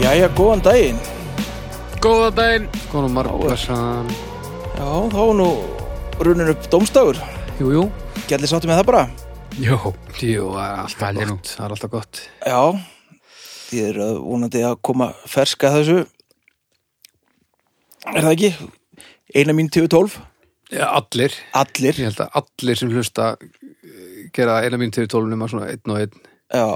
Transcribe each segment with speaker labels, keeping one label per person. Speaker 1: Jæja, góðan daginn.
Speaker 2: Góða daginn Góðan margblessan
Speaker 1: Já, þá er nú runnin upp dómstagur.
Speaker 2: Jú, jú
Speaker 1: Gjallir sáttu með það bara.
Speaker 2: Jú, jú, það er
Speaker 3: Það
Speaker 2: alltaf
Speaker 3: er
Speaker 2: gott Það er alltaf gott
Speaker 1: Já, þið eru að vonandi að koma ferska að þessu. Er það ekki? Eina mín 2012.
Speaker 2: ja, Allir
Speaker 1: Allir.
Speaker 2: Ég held að allir sem hlusta eh, gera eina mínu til tólunum að svona einn og einn
Speaker 1: Já,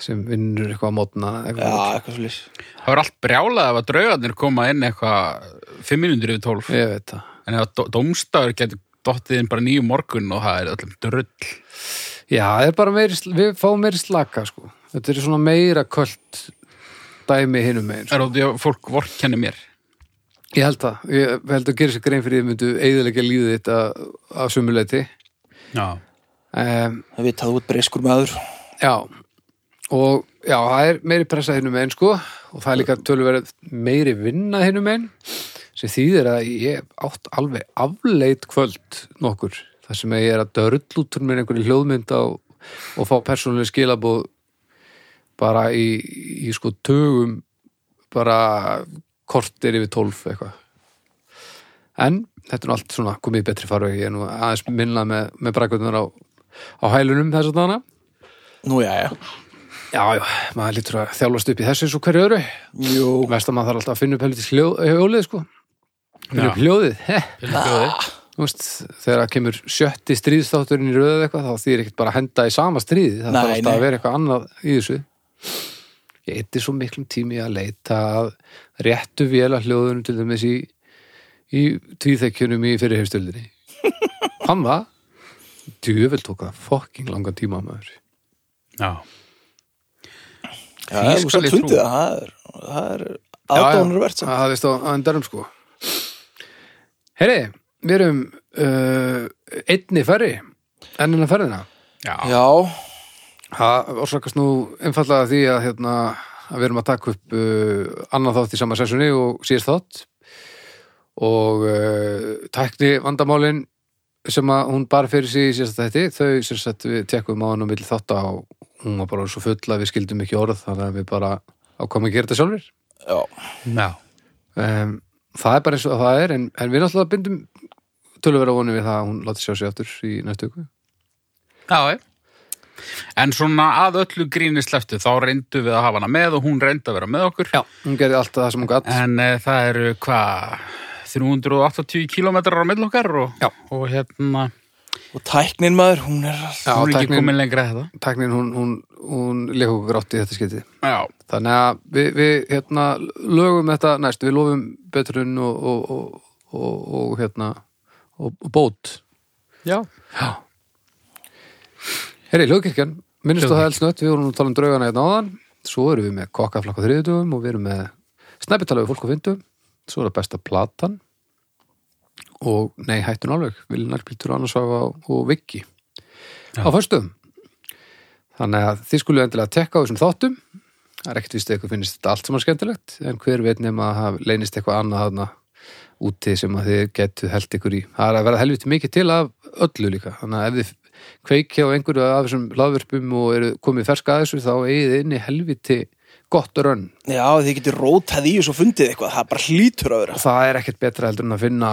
Speaker 2: sem vinnur eitthvað á mótna
Speaker 1: já,
Speaker 2: eitthvað.
Speaker 1: eitthvað svolítið.
Speaker 3: Það var allt brjálað ef að draugarnir koma inn eitthvað 5 minútur yfir 12
Speaker 2: Ég veit það
Speaker 3: en ef að dó- dómstagur getur dottið inn bara nýju morgun og það er öllum drull
Speaker 2: Já, það er bara meiri, sl- við fáum meiri slaka sko. Þetta er svona meira kvöld dæmi hinum megin sko.
Speaker 3: er ótið að fólk vorkenni mér
Speaker 2: Ég held það, ég ég held að gera sér grein fyrir því myndu eigðilega líðið þetta af sömuleiti
Speaker 3: Já,
Speaker 2: um,
Speaker 1: Það við taðu út breyskur maður.
Speaker 2: Já og já, það er meiri pressa hinnum einn sko og það er líka tölverið meiri vinna hinnum einn sem þýðir að ég hef átt alveg afleit kvöld nokkur þar sem ég er að dörl út úr mér einhverju hljóðmynda og, og fá persónuleg skilabóð bara í, í sko tögum bara kortir yfir tólf eitthvað en þetta er nú allt svona komið í betri farvegi ég er nú aðeins minna með, með brækvöndar á, á hælunum þess að dana
Speaker 1: Nú, já, já.
Speaker 2: Já, já, maður lítur að þjálfast upp í þessu eins og hverju öðru.
Speaker 1: Jú,
Speaker 2: Vest að maður þarf alltaf að finna upp helviti hljó- hjólið, sko. Finna upp hljóðið, he.
Speaker 1: Ah.
Speaker 2: Þú veist, þegar það kemur sjötti stríðstátturinn í röðu eitthvað, þá þýr ekkert bara að henda í sama stríði. Það
Speaker 1: Nei,
Speaker 2: þarf alltaf
Speaker 1: nei.
Speaker 2: að vera eitthvað annað í þessu. Ég eitti svo miklum tími að leita að réttu véla hljóðunum til dæmis í, í tvíþekjunum í fyrirhefstöldinni. Hann var, djöfvel tók það fucking langan tíma maður.
Speaker 3: já
Speaker 1: já,
Speaker 3: Því
Speaker 1: þú
Speaker 3: skal
Speaker 1: samt
Speaker 3: ég
Speaker 1: fundið
Speaker 3: trúa.
Speaker 1: það. Það er, það er aðdónurvert.
Speaker 2: Já, já, það veist á andarum sko Heyri, við erum uh, einni færri ennina færðina
Speaker 3: Já,
Speaker 1: Já,
Speaker 2: Það orsakast nú einfallega af því að, hérna, að við erum að taka upp uh, annan þátt í sama sessunni og síðast þátt og uh, tækni vandamálin sem að hún bar fyrir sig í síðast þætti þau sem sagt við tekum á hann og milli þátt á hún var bara svo full að við skildum ekki orð þannig að við bara ákvæmum að gera þetta sjálfur
Speaker 1: já.
Speaker 3: já.
Speaker 2: um, það er bara eins og það er en, en við náttúrulega bindum tölvera vonum við það að hún láti sjá sig aftur í næstu ykkur
Speaker 3: Já, ég. En svona að öllu gríni sleftu, þá reyndu við að hafa hana með og hún reyndi að vera með okkur.
Speaker 2: já. hún gerði alltaf það sem hún gatt
Speaker 3: En e, það eru hvað, 380 kilometrar á mill okkar og,
Speaker 2: Já.
Speaker 3: og hérna,
Speaker 1: Og tæknin maður, hún er alltaf.
Speaker 2: Já,
Speaker 3: hún er ekki
Speaker 2: tæknin-
Speaker 3: komin lengra að þetta.
Speaker 2: tæknin hún, hún, hún leik okkur grátt í þetta skipti
Speaker 3: Já,
Speaker 2: þannig að við, við hérna, lögum þetta næst, við lofum betrun og, og, og, og, og hérna og, og bót
Speaker 3: já.
Speaker 2: já Herri, hljóðkirkjan, minnstu það elsnött við vorum nú að tala um draugana hérna áðan svo erum við með kokkaflakk á þriðutugum og við erum með snæpitala við fólk á fyndum svo er það besta platan og nei, hættun alveg Vilja Nærpiltur og Annarsvafa og Viki á föstum þannig að þið skulum endilega tekka á þessum þáttum það er ekkert víst að ykkur finnist þetta allt saman skemmtilegt en hver veit nema að hafa leynist eitthvað annað þarna úti sem að þið getu held ykkur í það er að vera helviti mikið til af öllu líka þannig að ef þið kveikja á einhverju af þessum laðvörpum og eru komið ferska að þessu þá eigið þið inni helviti gott rönn
Speaker 1: Já, þið getur rótað í þessu og fundið eitthvað. Það bara hlýtur að vera.
Speaker 2: og það er ekkert betra heldur en að finna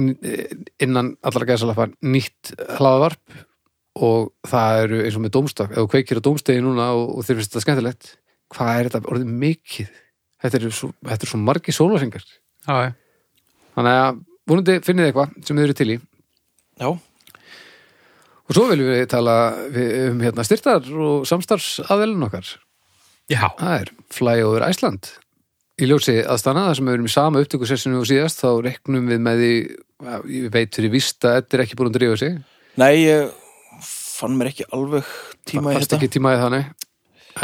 Speaker 2: n- innan allra gæðsalappa nýtt hlaðvarp og það eru eins og með dómstak ef þú kveikir á dómstegi núna og, og þér finnst þetta skemmtilegt hvað er þetta orðið mikið þetta eru svo, þetta eru svo margi sólarsengar
Speaker 3: Já, já.
Speaker 2: þannig að vonandi finnið þið eitthvað sem þið eru til í
Speaker 1: Já,
Speaker 2: og svo viljum við tala við, um hérna styrtar og samstarfs aðelun okkar
Speaker 3: Já,
Speaker 2: það er Flyover Iceland í ljósi aðstana þar sem við erum í sama upptökusessinu og síðast þá reknum við með því já, ég veit fyrir víst að þetta er ekki búin að drífa sig
Speaker 1: Nei, ég fann mér ekki alveg tíma í
Speaker 2: fannst
Speaker 1: þetta.
Speaker 2: ekki tímaði þannig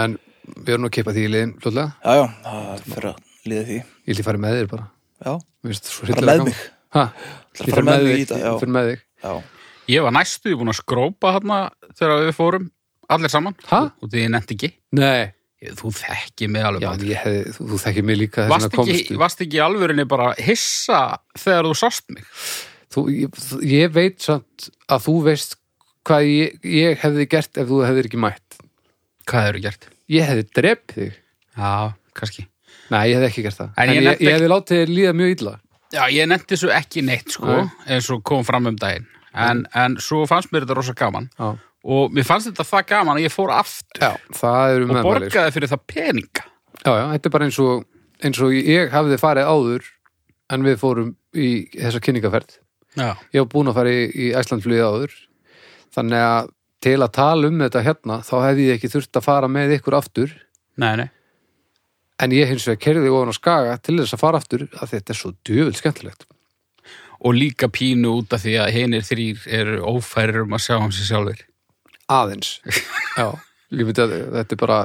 Speaker 2: en við erum nú að kippa því í liðin fljóðlega,
Speaker 1: Já, já, það er fyrir að liða því.
Speaker 2: ég vil fara með þér bara
Speaker 1: Já,
Speaker 2: Mér finnst svo
Speaker 1: Bara
Speaker 2: hryllilega
Speaker 1: með
Speaker 2: gaman.
Speaker 1: mig?
Speaker 2: Ha,
Speaker 1: Ætlar að
Speaker 2: ég
Speaker 1: fara
Speaker 2: fer
Speaker 1: með
Speaker 2: með
Speaker 1: mig í
Speaker 2: þig,
Speaker 1: þetta, já.
Speaker 2: ég fer með þig
Speaker 1: já.
Speaker 3: ég var næstu búin að skrópa hérna þegar við fórum, allir saman,
Speaker 2: Ha?
Speaker 3: og því ég nefndi ekki.
Speaker 2: nei,
Speaker 3: Ég- Þú þekki mig alveg
Speaker 2: já,
Speaker 3: bara.
Speaker 2: en ég hef, þú, þú þekkir mig líka þess
Speaker 3: Varst
Speaker 2: vegna
Speaker 3: ekki,
Speaker 2: komstu
Speaker 3: varst ekki í alvörinni bara hissa þegar þú sást mig?
Speaker 2: þú, ég, þú- ég veit samt að þú veist hvað ég, ég hefði gert ef þú hefðir ekki mætt
Speaker 3: Hvað hefur gert?
Speaker 2: ég hefði drept þig
Speaker 3: Já, kannski.
Speaker 2: Nei, ég hef ekki gert það.
Speaker 3: En
Speaker 2: En
Speaker 3: ég
Speaker 2: ég, ég,
Speaker 3: nefndi ekki-
Speaker 2: hefði látið þér líða mjög illa.
Speaker 3: Já, ég nefndi svo ekki neitt, sko,
Speaker 2: Nei.
Speaker 3: eins og kom fram um daginn. En, en svo fannst mér þetta rosa gaman.
Speaker 2: Já.
Speaker 3: Og mér fannst þetta það gaman að ég fór aftur
Speaker 2: Það eru
Speaker 3: og
Speaker 2: meðmæli. sko.
Speaker 3: borgaði fyrir það peninga.
Speaker 2: Já, já, þetta er bara eins og, eins og ég hafði farið áður en við fórum í þessa kynningaferð.
Speaker 3: Já.
Speaker 2: Ég var búin að fara í, í Æslandflugið áður. Þannig að til að tala um þetta hérna, þá hefði ég ekki þurft að fara með ykkur aftur.
Speaker 3: Nei, nei.
Speaker 2: En ég hins vegar kerði ofan á skaga til þess að fara aftur að þetta er svo djöful skemmtilegt.
Speaker 3: Og líka pínu út af því að hinir þrýr eru ófærir um að sjá um sig sjálfur.
Speaker 2: Aðeins. Já, ég myndi að þetta er bara,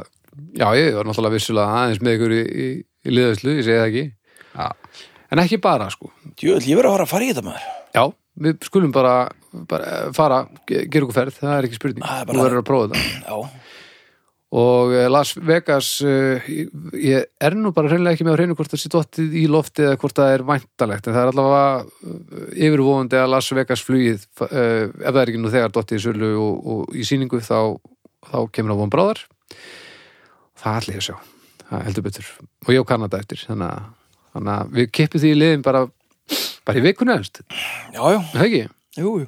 Speaker 2: já, ég var náttúrulega vissulega aðeins með ykkur í, í, í liðaslu, ég segi það ekki.
Speaker 3: Já.
Speaker 2: En ekki bara, sko.
Speaker 1: Jöl, ég verið að fara að fara í þetta maður.
Speaker 2: Já, við skulum bara, bara eh, fara, ge- gera okkur ferð, það er ekki spurning.
Speaker 1: Það er bara
Speaker 2: Nú
Speaker 1: þannig.
Speaker 2: verður að prófa þetta.
Speaker 1: Já,
Speaker 2: Og eh, Las Vegas, eh, ég- ég er nú bara hreinlega ekki með að hreinu hvort það sé dottið í lofti eða hvort það er væntalegt. En það er allavega eh, yfirvofandi að Las Vegas flugið, eh, ef það er ekki nú þegar dottið í sölu og, og í sýningu, þá, þá kemur það von bráðar. Það ætla ég að sjá, það heldur betur. Og ég á Kanada eftir, þannig að, þannig að við kippum því í liðin bara, bara í vikunni eðast,
Speaker 1: já, já,
Speaker 2: það ekki?
Speaker 1: jú, jú.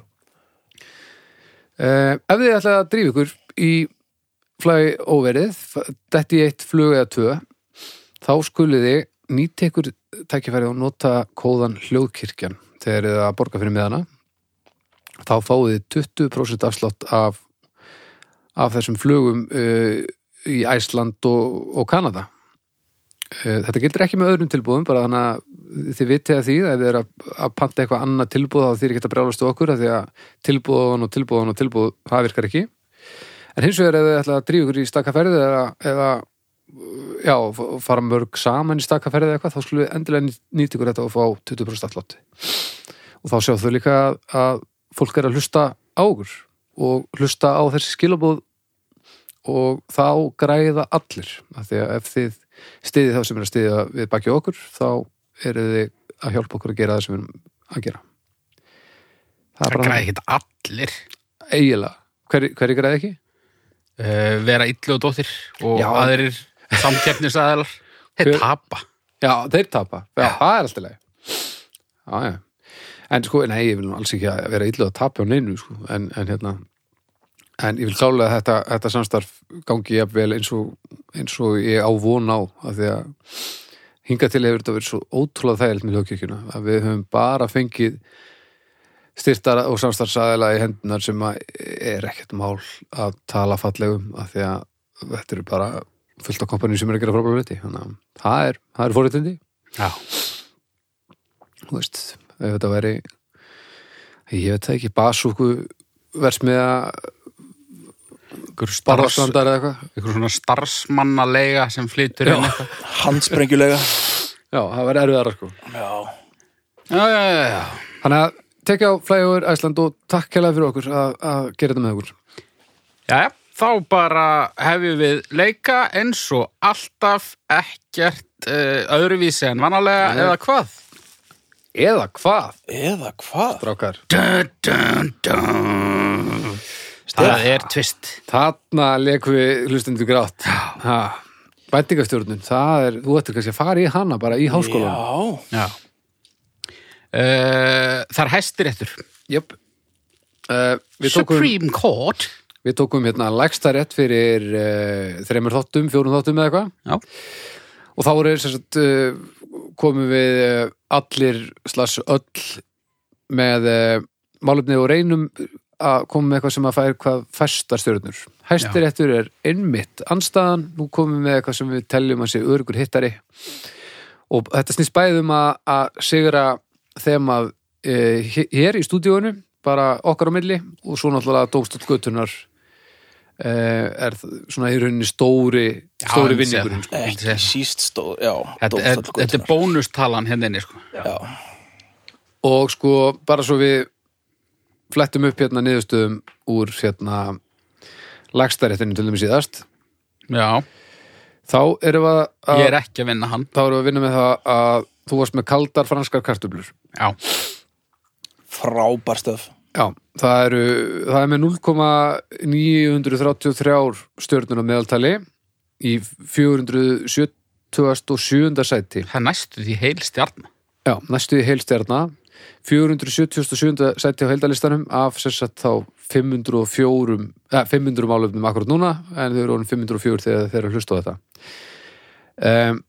Speaker 2: Uh, ef þið ætlaði að drífa ykkur í flagi óverið, detti í eitt flug eða tvö, þá skulið þið nýta ykkur tækifæri og nota kóðan hljóðkirkjan þegar þið að borga fyrir meðana. Þá fáið þið 20% afslátt af, af þessum flugum uh, í Æsland og, og Kanada. Uh, þetta gildir ekki með öðrum tilbúðum, bara þannig að þið vitið að því að þið er að, að panta eitthvað annað tilbúð þá þið er ekki að brjálast við okkur að því að tilbúðan og tilbúðan og tilbúð það virkar ekki en hins vegar ef þið ætla að drífa ykkur í stakkaferði eða, eða já, f- fara mörg saman í stakkaferði eða eitthvað, þá skulle við endilega ný- nýta ykkur þetta og fá 20% allátt og þá sjá þau líka að, að fólk er að hlusta á okkur og hlusta á þessi skilabóð og þá græða allir af því að ef þið stiðið þá sem er að stiðja við baki okkur þá eru þið að hjálpa okkur að gera það sem við erum að gera
Speaker 3: Það
Speaker 2: bara
Speaker 3: græði ekkert allir.
Speaker 2: eiginlega, hver, hver ykkur eða ekki?
Speaker 3: Uh, vera illu og dóttir og
Speaker 2: Já.
Speaker 3: aðrir samkeppnisaðalar.
Speaker 2: Hver-
Speaker 3: Þeir tapa.
Speaker 2: Já, þeir tapa, já, það er alltaf leið Já, já En sko, nei, ég vil nú alls ekki að vera illa að tapa á neinu, sko, en, en hérna en ég vil klálega að þetta, þetta samstarf gangi jafnvel eins og eins og ég á von á af því að hingað til hefur þetta verið svo ótrúlega þægilt með hljókirkjuna að við höfum bara fengið styrtar og samstarfsaðila í hendunar sem að er ekkert mál að tala fallegum af því að þetta eru bara fullt af kompanjum sem er að gera frábæra hluti þannig að það er, það er fórhættindi
Speaker 3: Já.
Speaker 2: þú veist, ef þetta væri ég veit það ekki, basúku versmiða
Speaker 3: Ykkur starfs,
Speaker 2: barðarslandar eða eitthvað
Speaker 3: ykkur svona starfsmannalega sem flytur inn eitthvað.
Speaker 1: Handsprengulega.
Speaker 2: já, það væri erfiðara sko
Speaker 1: Já,
Speaker 3: Já, já, já, já.
Speaker 2: þannig að tekja á flægur Æsland og takk kælega fyrir okkur að, að gera þetta með okkur
Speaker 3: Jæja, þá bara hefjum við leika eins og alltaf ekkert uh, öðruvísi en vanalega
Speaker 2: Nei.
Speaker 3: eða hvað?
Speaker 2: eða hvað,
Speaker 1: eða hvað?
Speaker 2: drákar
Speaker 3: Dun, dun, dun. Það er tvist.
Speaker 2: þarna lekum við hlustundu grátt ha, væntingastjórnun það er, þú ættir kannski að fara í hana bara í háskólan
Speaker 1: Já,
Speaker 3: Já. Uh, það er hæstiréttur.
Speaker 2: jöp uh, við tókum
Speaker 3: Supreme Court.
Speaker 2: Við tókum hérna lægsta rétt fyrir uh, þreymur þáttum, fjórum þáttum eða eitthvað
Speaker 3: Já.
Speaker 2: og þá voru sem sagt, uh, komum við uh, allir slags öll með uh, málefni og reynum að koma með eitthvað sem að fær hvað fæstar stjörnur. Hæstir réttur er einmitt anstaðan, nú komum við með eitthvað sem við teljum að sé örgur hittari og þetta snýst bæðum að, að sigra þeim að e, hér í stúdíóinu bara okkar á milli og svo náttúrulega dómstólgötunar e, er þ- svona í rauninni stóri
Speaker 3: ég
Speaker 2: stóri
Speaker 3: myndi segja
Speaker 2: vinningurinn
Speaker 3: það.
Speaker 2: sko.
Speaker 3: Ég myndi
Speaker 1: ekki
Speaker 3: segja það.
Speaker 1: síst stóð, já,
Speaker 3: Þetta er- þetta er bónustalan hérna inni, sko.
Speaker 1: Já,
Speaker 2: og sko bara svo við flettum upp hérna niðurstöðum úr hérna lagstaréttinu til dæmis síðast
Speaker 3: Já,
Speaker 2: þá erum við að,
Speaker 3: ég er ekki að vinna hann.
Speaker 2: þá erum við að vinna með það að þú varst með kaldar franskar kartöblur
Speaker 3: Já.
Speaker 1: frábær stöf.
Speaker 2: Já, það, eru, það er með 0,933 stjörnur á meðaltali í 470 27. sæti
Speaker 3: Það er næstu því heil stjarn
Speaker 2: Já, næstu í heilstjarna 477. sæti á heildalistanum af sem sagt þá 504 eh, 500 málöfnum akkurat núna en þau eru orðin 504 þegar þeir eru að hlusta á þetta um,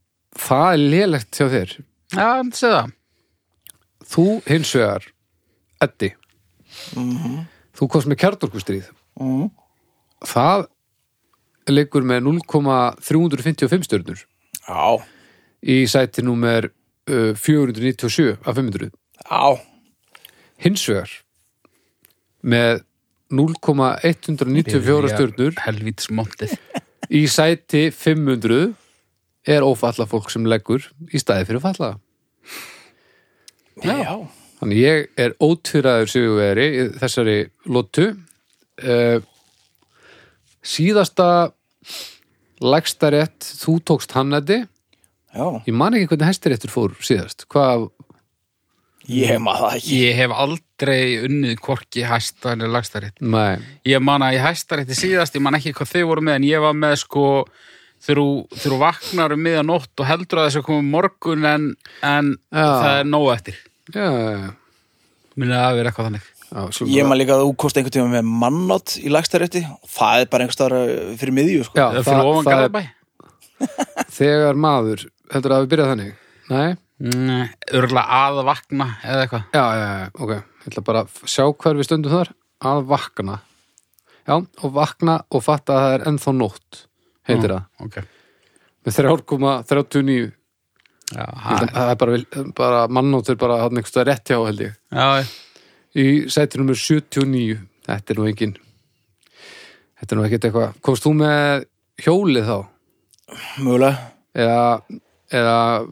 Speaker 2: Það er lélegt hjá þér
Speaker 3: Já, en sé það
Speaker 2: Þú hins vegar Eddi Þú komst með kjartorkustríð
Speaker 1: Mm.
Speaker 2: Það leikur með 0,355 stjörnur
Speaker 1: Á,
Speaker 2: í sæti númer uh, 497 af 500
Speaker 1: á,
Speaker 2: hins vegar með 0,194 stjörnur
Speaker 3: Helvítis montið
Speaker 2: í sæti 500 er ófalla fólk sem leggur í staði fyrir falla
Speaker 1: já,
Speaker 2: þannig ég er ótvíraður sigurveri í þessari lottu uh, síðasta legstarétt, þú tókst hann þetta
Speaker 1: já,
Speaker 2: ég man ekki hvernig hæstiréttur fór síðast hvað,
Speaker 1: ég maður það ekki.
Speaker 3: Ég hef aldrei unnið hvorki hæsta en lagstaritt
Speaker 2: nei,
Speaker 3: Ég man að ég hæstar þetta síðast, ég man ekki hvað þau voru með en ég var með sko þegar þú- þegar þú vaknar um miðan nótt og heldur að þessu komið morgun en, en
Speaker 2: Já.
Speaker 3: það er nóg eftir.
Speaker 2: já, já, já,
Speaker 3: Minna að vera eitthvað þannig.
Speaker 2: já skulum
Speaker 1: Ég
Speaker 2: bara-
Speaker 1: maður líka að þú kosti einhvern tíma með mannátt í lagstarétti og það er bara einhvers staðar fyrir miðju, sko.
Speaker 2: Já,
Speaker 3: Það,
Speaker 2: það-
Speaker 3: fyrir ofan
Speaker 2: það er-
Speaker 3: Garðabæ?
Speaker 2: þegar maður heldur að hafi byrjað þannig nei,
Speaker 3: Nei, örgulega að vakna eða eitthvað.
Speaker 2: já, já, já, ok ég ætla bara að sjá hver við stundum þar að vakna já, og vakna og fatta að það er ennþá nótt heitir það,
Speaker 3: Ok.
Speaker 2: með 3,39
Speaker 3: Já,
Speaker 2: Ég held að það er bara, vil- bara mannóttur bara hann einhvers það rétt hjá held ég
Speaker 3: já,
Speaker 2: í sæti nummer 79 þetta er nú engin þetta er nú ekkert eitthvað, komst þú með hjólið þá
Speaker 1: Mögulega,
Speaker 2: eða, eða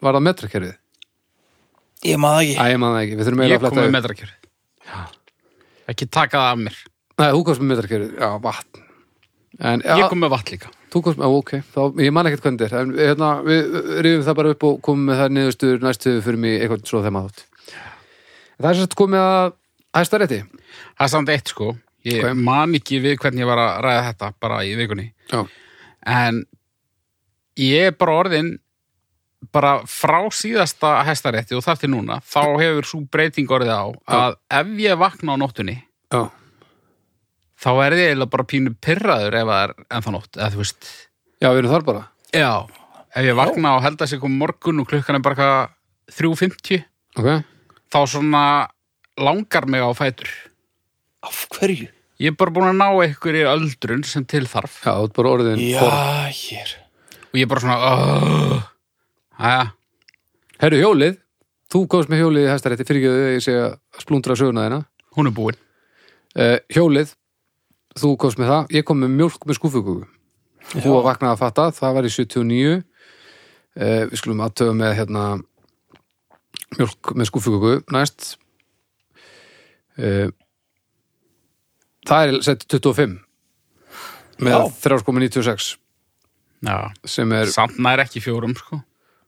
Speaker 2: var það metrakerfið?
Speaker 1: ég maður það ekki.
Speaker 2: Æ, ég man það ekki, við þurfum eiginlega
Speaker 3: ég
Speaker 2: að
Speaker 3: kom með
Speaker 2: fletta upp.
Speaker 3: metrakjörð. Ekki taka það af mér.
Speaker 2: Nei, þú komst með metrakerfið, já, vatn En,
Speaker 3: Ég
Speaker 2: já,
Speaker 3: kom með vatn líka.
Speaker 2: þú komst með, á, ok, þá, ég man ekkert hvernig þetta er en hérna, við rifum það bara upp og komum með það niðurstur næstu fyrir mig eitthvað svo þeim að þátt En Það er sérst komið að hæstarétti
Speaker 3: Það er samt eitt sko. Ég
Speaker 2: Ok.
Speaker 3: man ekki við hvernig ég var að ræða þetta bara í vikunni.
Speaker 2: Já,
Speaker 3: en ég er bara orðin bara frá síðasta hestarétti og þar til núna, þá hefur svo breyting orðið á að ef ég vakna á nóttunni
Speaker 2: já,
Speaker 3: þá er ég eiginlega bara pínu pyrraður ef það er ennþá nótt, eða þú veist
Speaker 2: já, við erum þar bara
Speaker 3: Já, ef ég vakna og held að sér kom morgun og klukkan er bara eitthvað 3.50
Speaker 2: Ok,
Speaker 3: þá svona langar mig á fætur
Speaker 1: Af hverju?
Speaker 3: Ég er bara búin að ná einhverju öldrun sem til þarf
Speaker 2: já, þú ert bara orðin
Speaker 1: Já,
Speaker 2: forn.
Speaker 1: hér.
Speaker 3: og ég er bara svona Æja,
Speaker 2: Herru, hjólið, þú komst með hjólið í hæstarétti fyrir ekki að ég sé að splundra söguna þeirna
Speaker 3: hún er búin
Speaker 2: uh, Hjólið, þú komst með það ég kom með mjólk með skúfugúgu þú var vaknað að fatta, það var í 79 uh, Eh, við skulum aðtöfa með hérna mjólk með skúfugúgu næst uh, það er sett 25 með
Speaker 1: Já.
Speaker 2: 3,96
Speaker 3: Já,
Speaker 2: sem er,
Speaker 3: samt nær ekki fjórum sko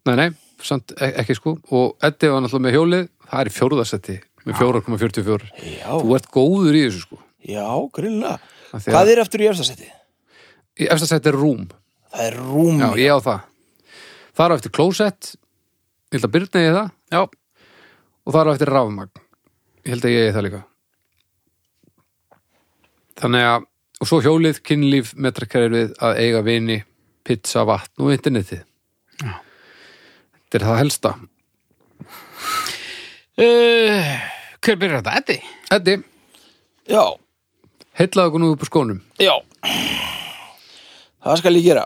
Speaker 2: nei nei samt, e- ekki sko, og Eddi var náttúrulega með hjólið það er í fjórðasetti með 4,44
Speaker 1: Já,
Speaker 2: þú ert góður í þessu sko
Speaker 1: já, grunlega.
Speaker 2: Af því að-
Speaker 1: Hvað er aftur í efstasetti?
Speaker 2: í efsta seti er rúm
Speaker 1: Það er rúm.
Speaker 2: Já, ég á það. Það er á eftir klósett, ég held að Birna ég það,
Speaker 3: Já,
Speaker 2: og það er á eftir rafmagn. Ég held að ég ég það líka. Þannig að, og svo hjólið, kynlíf, metrakerfið, að eiga vini, pizza, vatn og internetið.
Speaker 3: Já.
Speaker 2: Þetta er það helsta.
Speaker 3: Uh, hver byrjar þetta? Eddi?
Speaker 2: Eddi,
Speaker 1: Já,
Speaker 2: heillaðu okkur nú upp úr skónum.
Speaker 1: já. Það skal ég gera.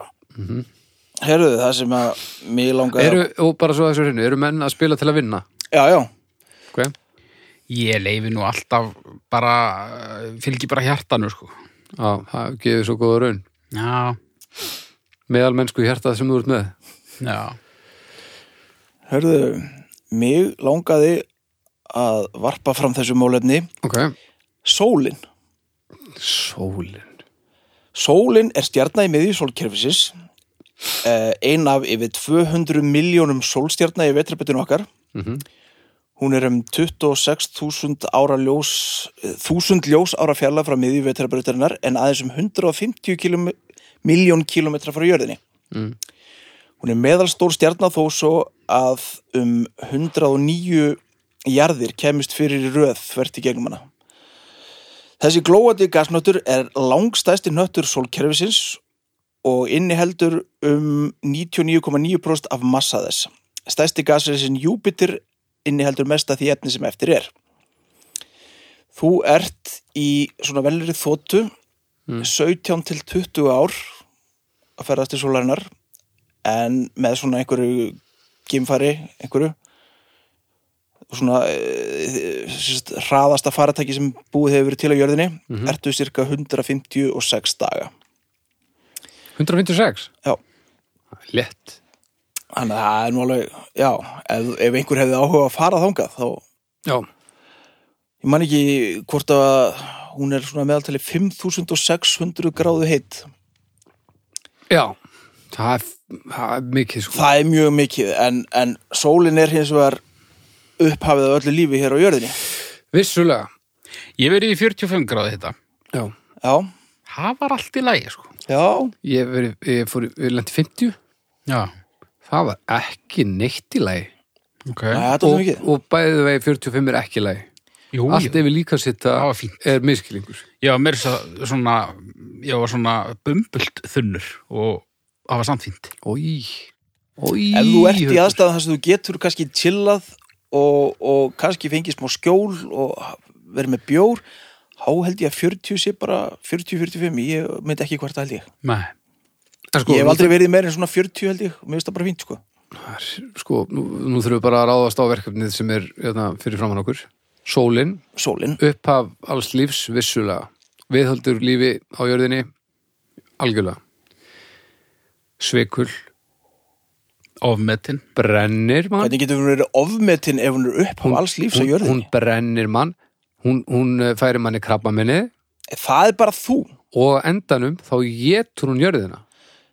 Speaker 1: Herðu, það sem að mér langaði...
Speaker 2: Mhm. Eru, og bara svo þessu hreinu, eru menn að spila til að vinna?
Speaker 1: Já, já.
Speaker 2: Ok,
Speaker 3: Ég leifi nú alltaf bara, uh, fylgi bara hjartanu sko.
Speaker 2: já, það gefur svo góða raun.
Speaker 3: Já,
Speaker 2: Meðal mennsku hjartað sem þú ert með.
Speaker 3: já.
Speaker 1: Hörðu, mig langaði að varpa fram þessu málefni
Speaker 2: Ok,
Speaker 1: Sólin
Speaker 2: sólin.
Speaker 1: Sólin er stjarna í miðju sólkerfisins eh, ein af yfir 200 miljónum sólstjarna í vetrarbetinu okkar
Speaker 2: Mhm.
Speaker 1: Hún er um 26.000 ára ljós, eh, 1000 ljós ára fjarlag frá miðju vetrarbrautarinnar en aðeins um 150 kilom, miljón kilometra frá jörðinni.
Speaker 2: Mm.
Speaker 1: Hún er meðalstór stjarnar þó svo að um 109 jarðir kemist fyrir í röð þvert í gegnum hana. Þessi glóandi gasnöttur er langstæsti nöttur sólkerfisins og inniheldur um 99,9% af massa þess. Stæsti gasrisin Júpiter inniheldur mest af því efni sem eftir er. Þú ert í svona velri þóttu 17 til 20 ár að ferðast í sólarinnar en með svona einhverju gimfari, einhverju svona e, sérst, hraðasta faratæki sem búið hefur verið til á jörðinni ertu cirka 156 daga
Speaker 2: 156?
Speaker 1: Já.
Speaker 2: Lett.
Speaker 1: Þannig að það er nú alveg, já, ef, ef einhver hefði áhuga að fara þangað þá,
Speaker 2: Já.
Speaker 1: ég man ekki hvort að hún er svona meðaltali 5600 gráðu heitt.
Speaker 2: Já. Það er, það er mikið sko.
Speaker 1: Það er mjög mikið en, en sólin er hins vegar upphafið af öllu lífi hér á jörðinni.
Speaker 2: Vissulega.
Speaker 3: Ég verið í 45 gráði þetta.
Speaker 2: Já.
Speaker 1: Já,
Speaker 3: Það var allt í lagi, sko.
Speaker 1: já,
Speaker 2: Ég, veri, ég fór, í- við lendi 50.
Speaker 3: Já,
Speaker 2: Það var ekki neitt í lagi.
Speaker 3: ok.
Speaker 1: Nei, þetta er svo
Speaker 2: Og,
Speaker 1: mikið.
Speaker 2: og bæðið vegi 45 er ekki í lagi.
Speaker 3: Jú,
Speaker 2: Allt
Speaker 3: jú.
Speaker 2: yfir líka sitta
Speaker 3: Það var fínt.
Speaker 2: er miskilingur.
Speaker 3: Ég var meira svo- svona, ég var svona bumbult þunnur og það var samt fínt.
Speaker 2: Ói. Ói.
Speaker 1: ef þú ert í aðstæðan þar sem þú getur kannski chillað og, og kannski fengið smá skjól og verið með bjór, þá held ég að 40 sé bara 40-45, ég myndi ekki hvort það held ég.
Speaker 3: Nei.
Speaker 2: Sko,
Speaker 1: ég hef aldrei verið meira en svona 40 held ég, mér finnst það bara fínt sko.
Speaker 2: Sko, nú, nú þurfum við bara að ráðast á verkefnið sem er hérna, fyrir framann okkur. Sólin,
Speaker 1: Sólin,
Speaker 2: upphaf alls lífs vissulega. Viðhaldur lífi á jörðinni, algjörlega. Sveikul,
Speaker 3: Ofmetin.
Speaker 2: brennir mann.
Speaker 1: hvernig getur hún verið ofmetin ef hún er upp á alls lífs á
Speaker 2: hún, hún
Speaker 1: jörðinni?
Speaker 2: brennir mann. Hún, hún eh, færir manni krabbaminni
Speaker 1: Það er bara þú.
Speaker 2: og á endanum þá getur hún jörðina.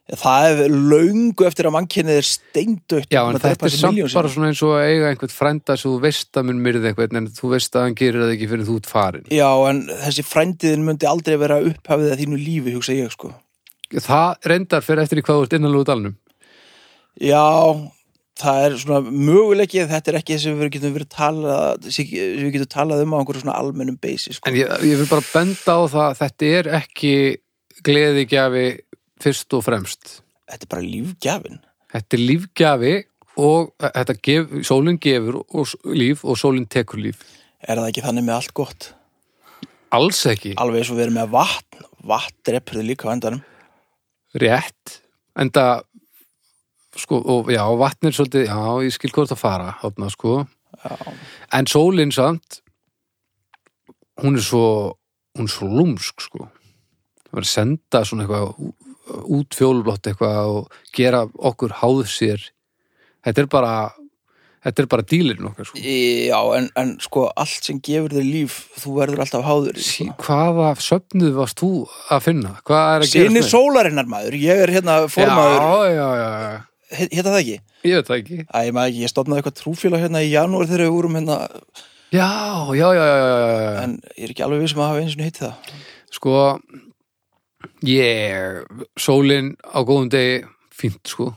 Speaker 1: Það er löngu eftir að mannkennið er steindögt.
Speaker 2: Já, en þetta er samt bara svona eins og að eiga einhvern frænda sem þú veist að mun myrði einhvern en þú veist að hann gerir það ekki fyrir þú ert farin.
Speaker 1: Já, en þessi frændiðin myndi aldrei vera upphafið að þínu lífi, hugsa ég, sko.
Speaker 2: Það reyndar fyrir eftir í hvað þú ert innanlegu dalnum.
Speaker 1: Já, það er svona möguleiki að þetta er ekki sem við getum verið talað, sem við getum talað um á einhverju svona almennum beisi, sko.
Speaker 2: En ég, ég vil bara benda á það að þetta er ekki gleðigjafi fyrst og fremst.
Speaker 1: Þetta er bara lífgjafin.
Speaker 2: Þetta er lífgjafi og þetta gef, sólinn gefur og, s- líf og sólinn tekur líf.
Speaker 1: Er það ekki þannig með allt gott?
Speaker 2: Alls ekki.
Speaker 1: Alveg eins og við erum með vatn, vatn drepur þið líka á endanum.
Speaker 2: Rétt. En það, sko, og já, vatn er svolítið, já, ég skil hvort að fara, hátna, sko.
Speaker 1: Já.
Speaker 2: En sólinn samt, hún er svo, hún er svo lúmsk, sko. Það var að senda svona eitthvað ú- út fjólublótt eitthvað og gera okkur háð sér. Þetta er bara, þetta er bara dílirinn okkar, sko.
Speaker 1: Já, en, en sko, allt sem gefur þér líf, þú verður alltaf háður. því, sko.
Speaker 2: Sí, hvaða söfnuð varst þú að finna? Hvað er að gera?
Speaker 1: Sinni sólarinnar maður, ég er hérna formaður,
Speaker 2: Já, já, já, já.
Speaker 1: He- hérna það ekki?
Speaker 2: Ég veit það ekki.
Speaker 1: Æ, ég maður ekki, ég stofnaði eitthvað trúfélag hérna í janúar þegar við vorum hérna,
Speaker 2: Já, já, já, já, já, já, já.
Speaker 1: en ég er ekki alveg við sem að hafa eins og hitt það.
Speaker 2: Sko ég sólin á góðum degi fínt sko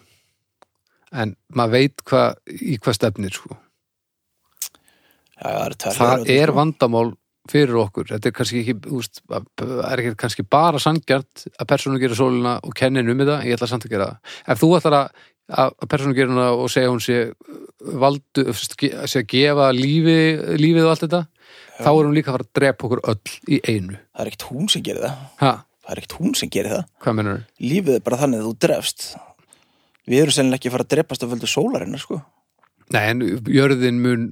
Speaker 2: en maður veit hva, í hvað stefnir sko
Speaker 1: Já, það er tvær.
Speaker 2: það
Speaker 1: leiðir á
Speaker 2: er
Speaker 1: því, sko.
Speaker 2: vandamál fyrir okkur þetta er kannski ekki, úst, það er ekki kannski bara sangjart að persónu gera sólina og kenni henni um þetta, ég ætla samt að gera það ef þú ætlar að, að persónu gera hana og segja hún sé uh, valdu, sé að gefa lífi, lífið og allt þetta þá er hún líka að fara að drepa okkur öll í einu
Speaker 1: Það er ekkert hún sem gerir það.
Speaker 2: ha,
Speaker 1: Það er ekkert hún sem gerir það.
Speaker 2: hvað mennur?
Speaker 1: Lífið er bara þannig að þú drefst. Við erum sennilega ekki að fara að drefast af völdu sólarinnar, sko.
Speaker 2: Nei, en jörðin mun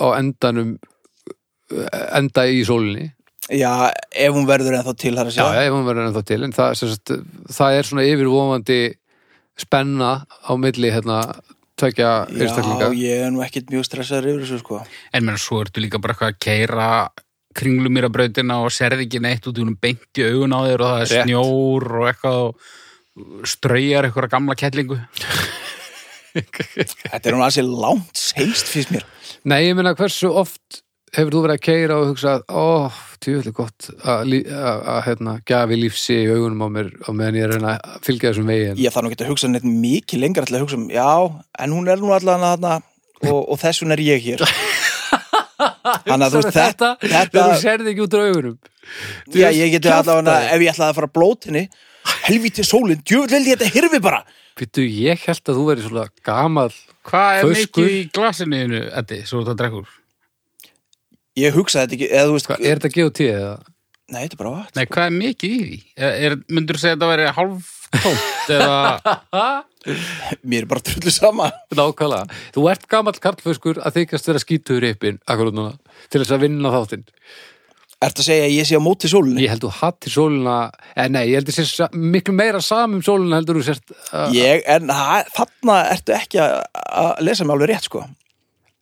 Speaker 2: á endanum uh, enda í sólinni
Speaker 1: Já, ef hún verður ennþá til þar að
Speaker 2: Já,
Speaker 1: segja.
Speaker 2: já, ef hún verður ennþá til en það, sem sagt, það er svona yfirvofandi spenna á milli hérna, tvekja einstaklinga
Speaker 1: ég er nú ekkert mjög stressaður yfir þessu, sko.
Speaker 3: En menn, svo ertu líka bara eitthvað að keira kringlumýra brautina og serði ekki neitt út í húnum beint í augun á þér og það er
Speaker 2: Rétt.
Speaker 3: snjór og eitthvað og ströyjar eitthvað gamla kettlingu.
Speaker 1: Þetta er hún aðeins langt heilst, finnst mér.
Speaker 2: Nei, ég meina hversu oft hefur þú verið að keira og hugsa að, ó, tjóðlega gott að, lí- að, að hérna, gafi lífsi í augunum á mér og meðan ég er að reyna að fylgja þessum vegin
Speaker 1: Ég þarf nú ekki að hugsa neitt mikið lengra til að hugsa um, já, en hún er nú allan að þarna og, og þess vegna er ég hér. Þannig að þú veist, þetta, þetta,
Speaker 2: þegar þú serði ekki út á augunum
Speaker 1: já, ég geti
Speaker 2: kjafta
Speaker 1: allavega, ef ég ætlaði að fara að blót henni, helvítið sólinn, djöfull held ég þetta hirfi bara.
Speaker 2: Býttu, ég held að þú verið svona gamall
Speaker 3: Hvað er
Speaker 2: Föskur.
Speaker 3: mikið í glasinu þínu, Eddi, svo þú það drekkur?
Speaker 1: Ég hugsaði þetta ekki, eða þú veist,
Speaker 2: Hva, Er þetta GOT eða?
Speaker 1: nei, þetta er bara vatn.
Speaker 3: Nei, hvað er mikið í því? Er, er, myndur segja að þetta væri hálf tómt eða...
Speaker 1: Mér er bara trullu sama.
Speaker 2: Nákvæmlega, þú ert gamall karlföskur að þykast vera skítur yppin akkurat núna, til þess að vinna þáttinn
Speaker 1: Ertu að segja að ég sé á móti sólinni?
Speaker 2: Ég held þú hattir sóluna eh, Nei, ég held þú sér sa- miklu meira samum sóluna heldur þú sért uh,
Speaker 1: Ég, en ha- þarna ertu ekki að að lesa mig alveg rétt, sko.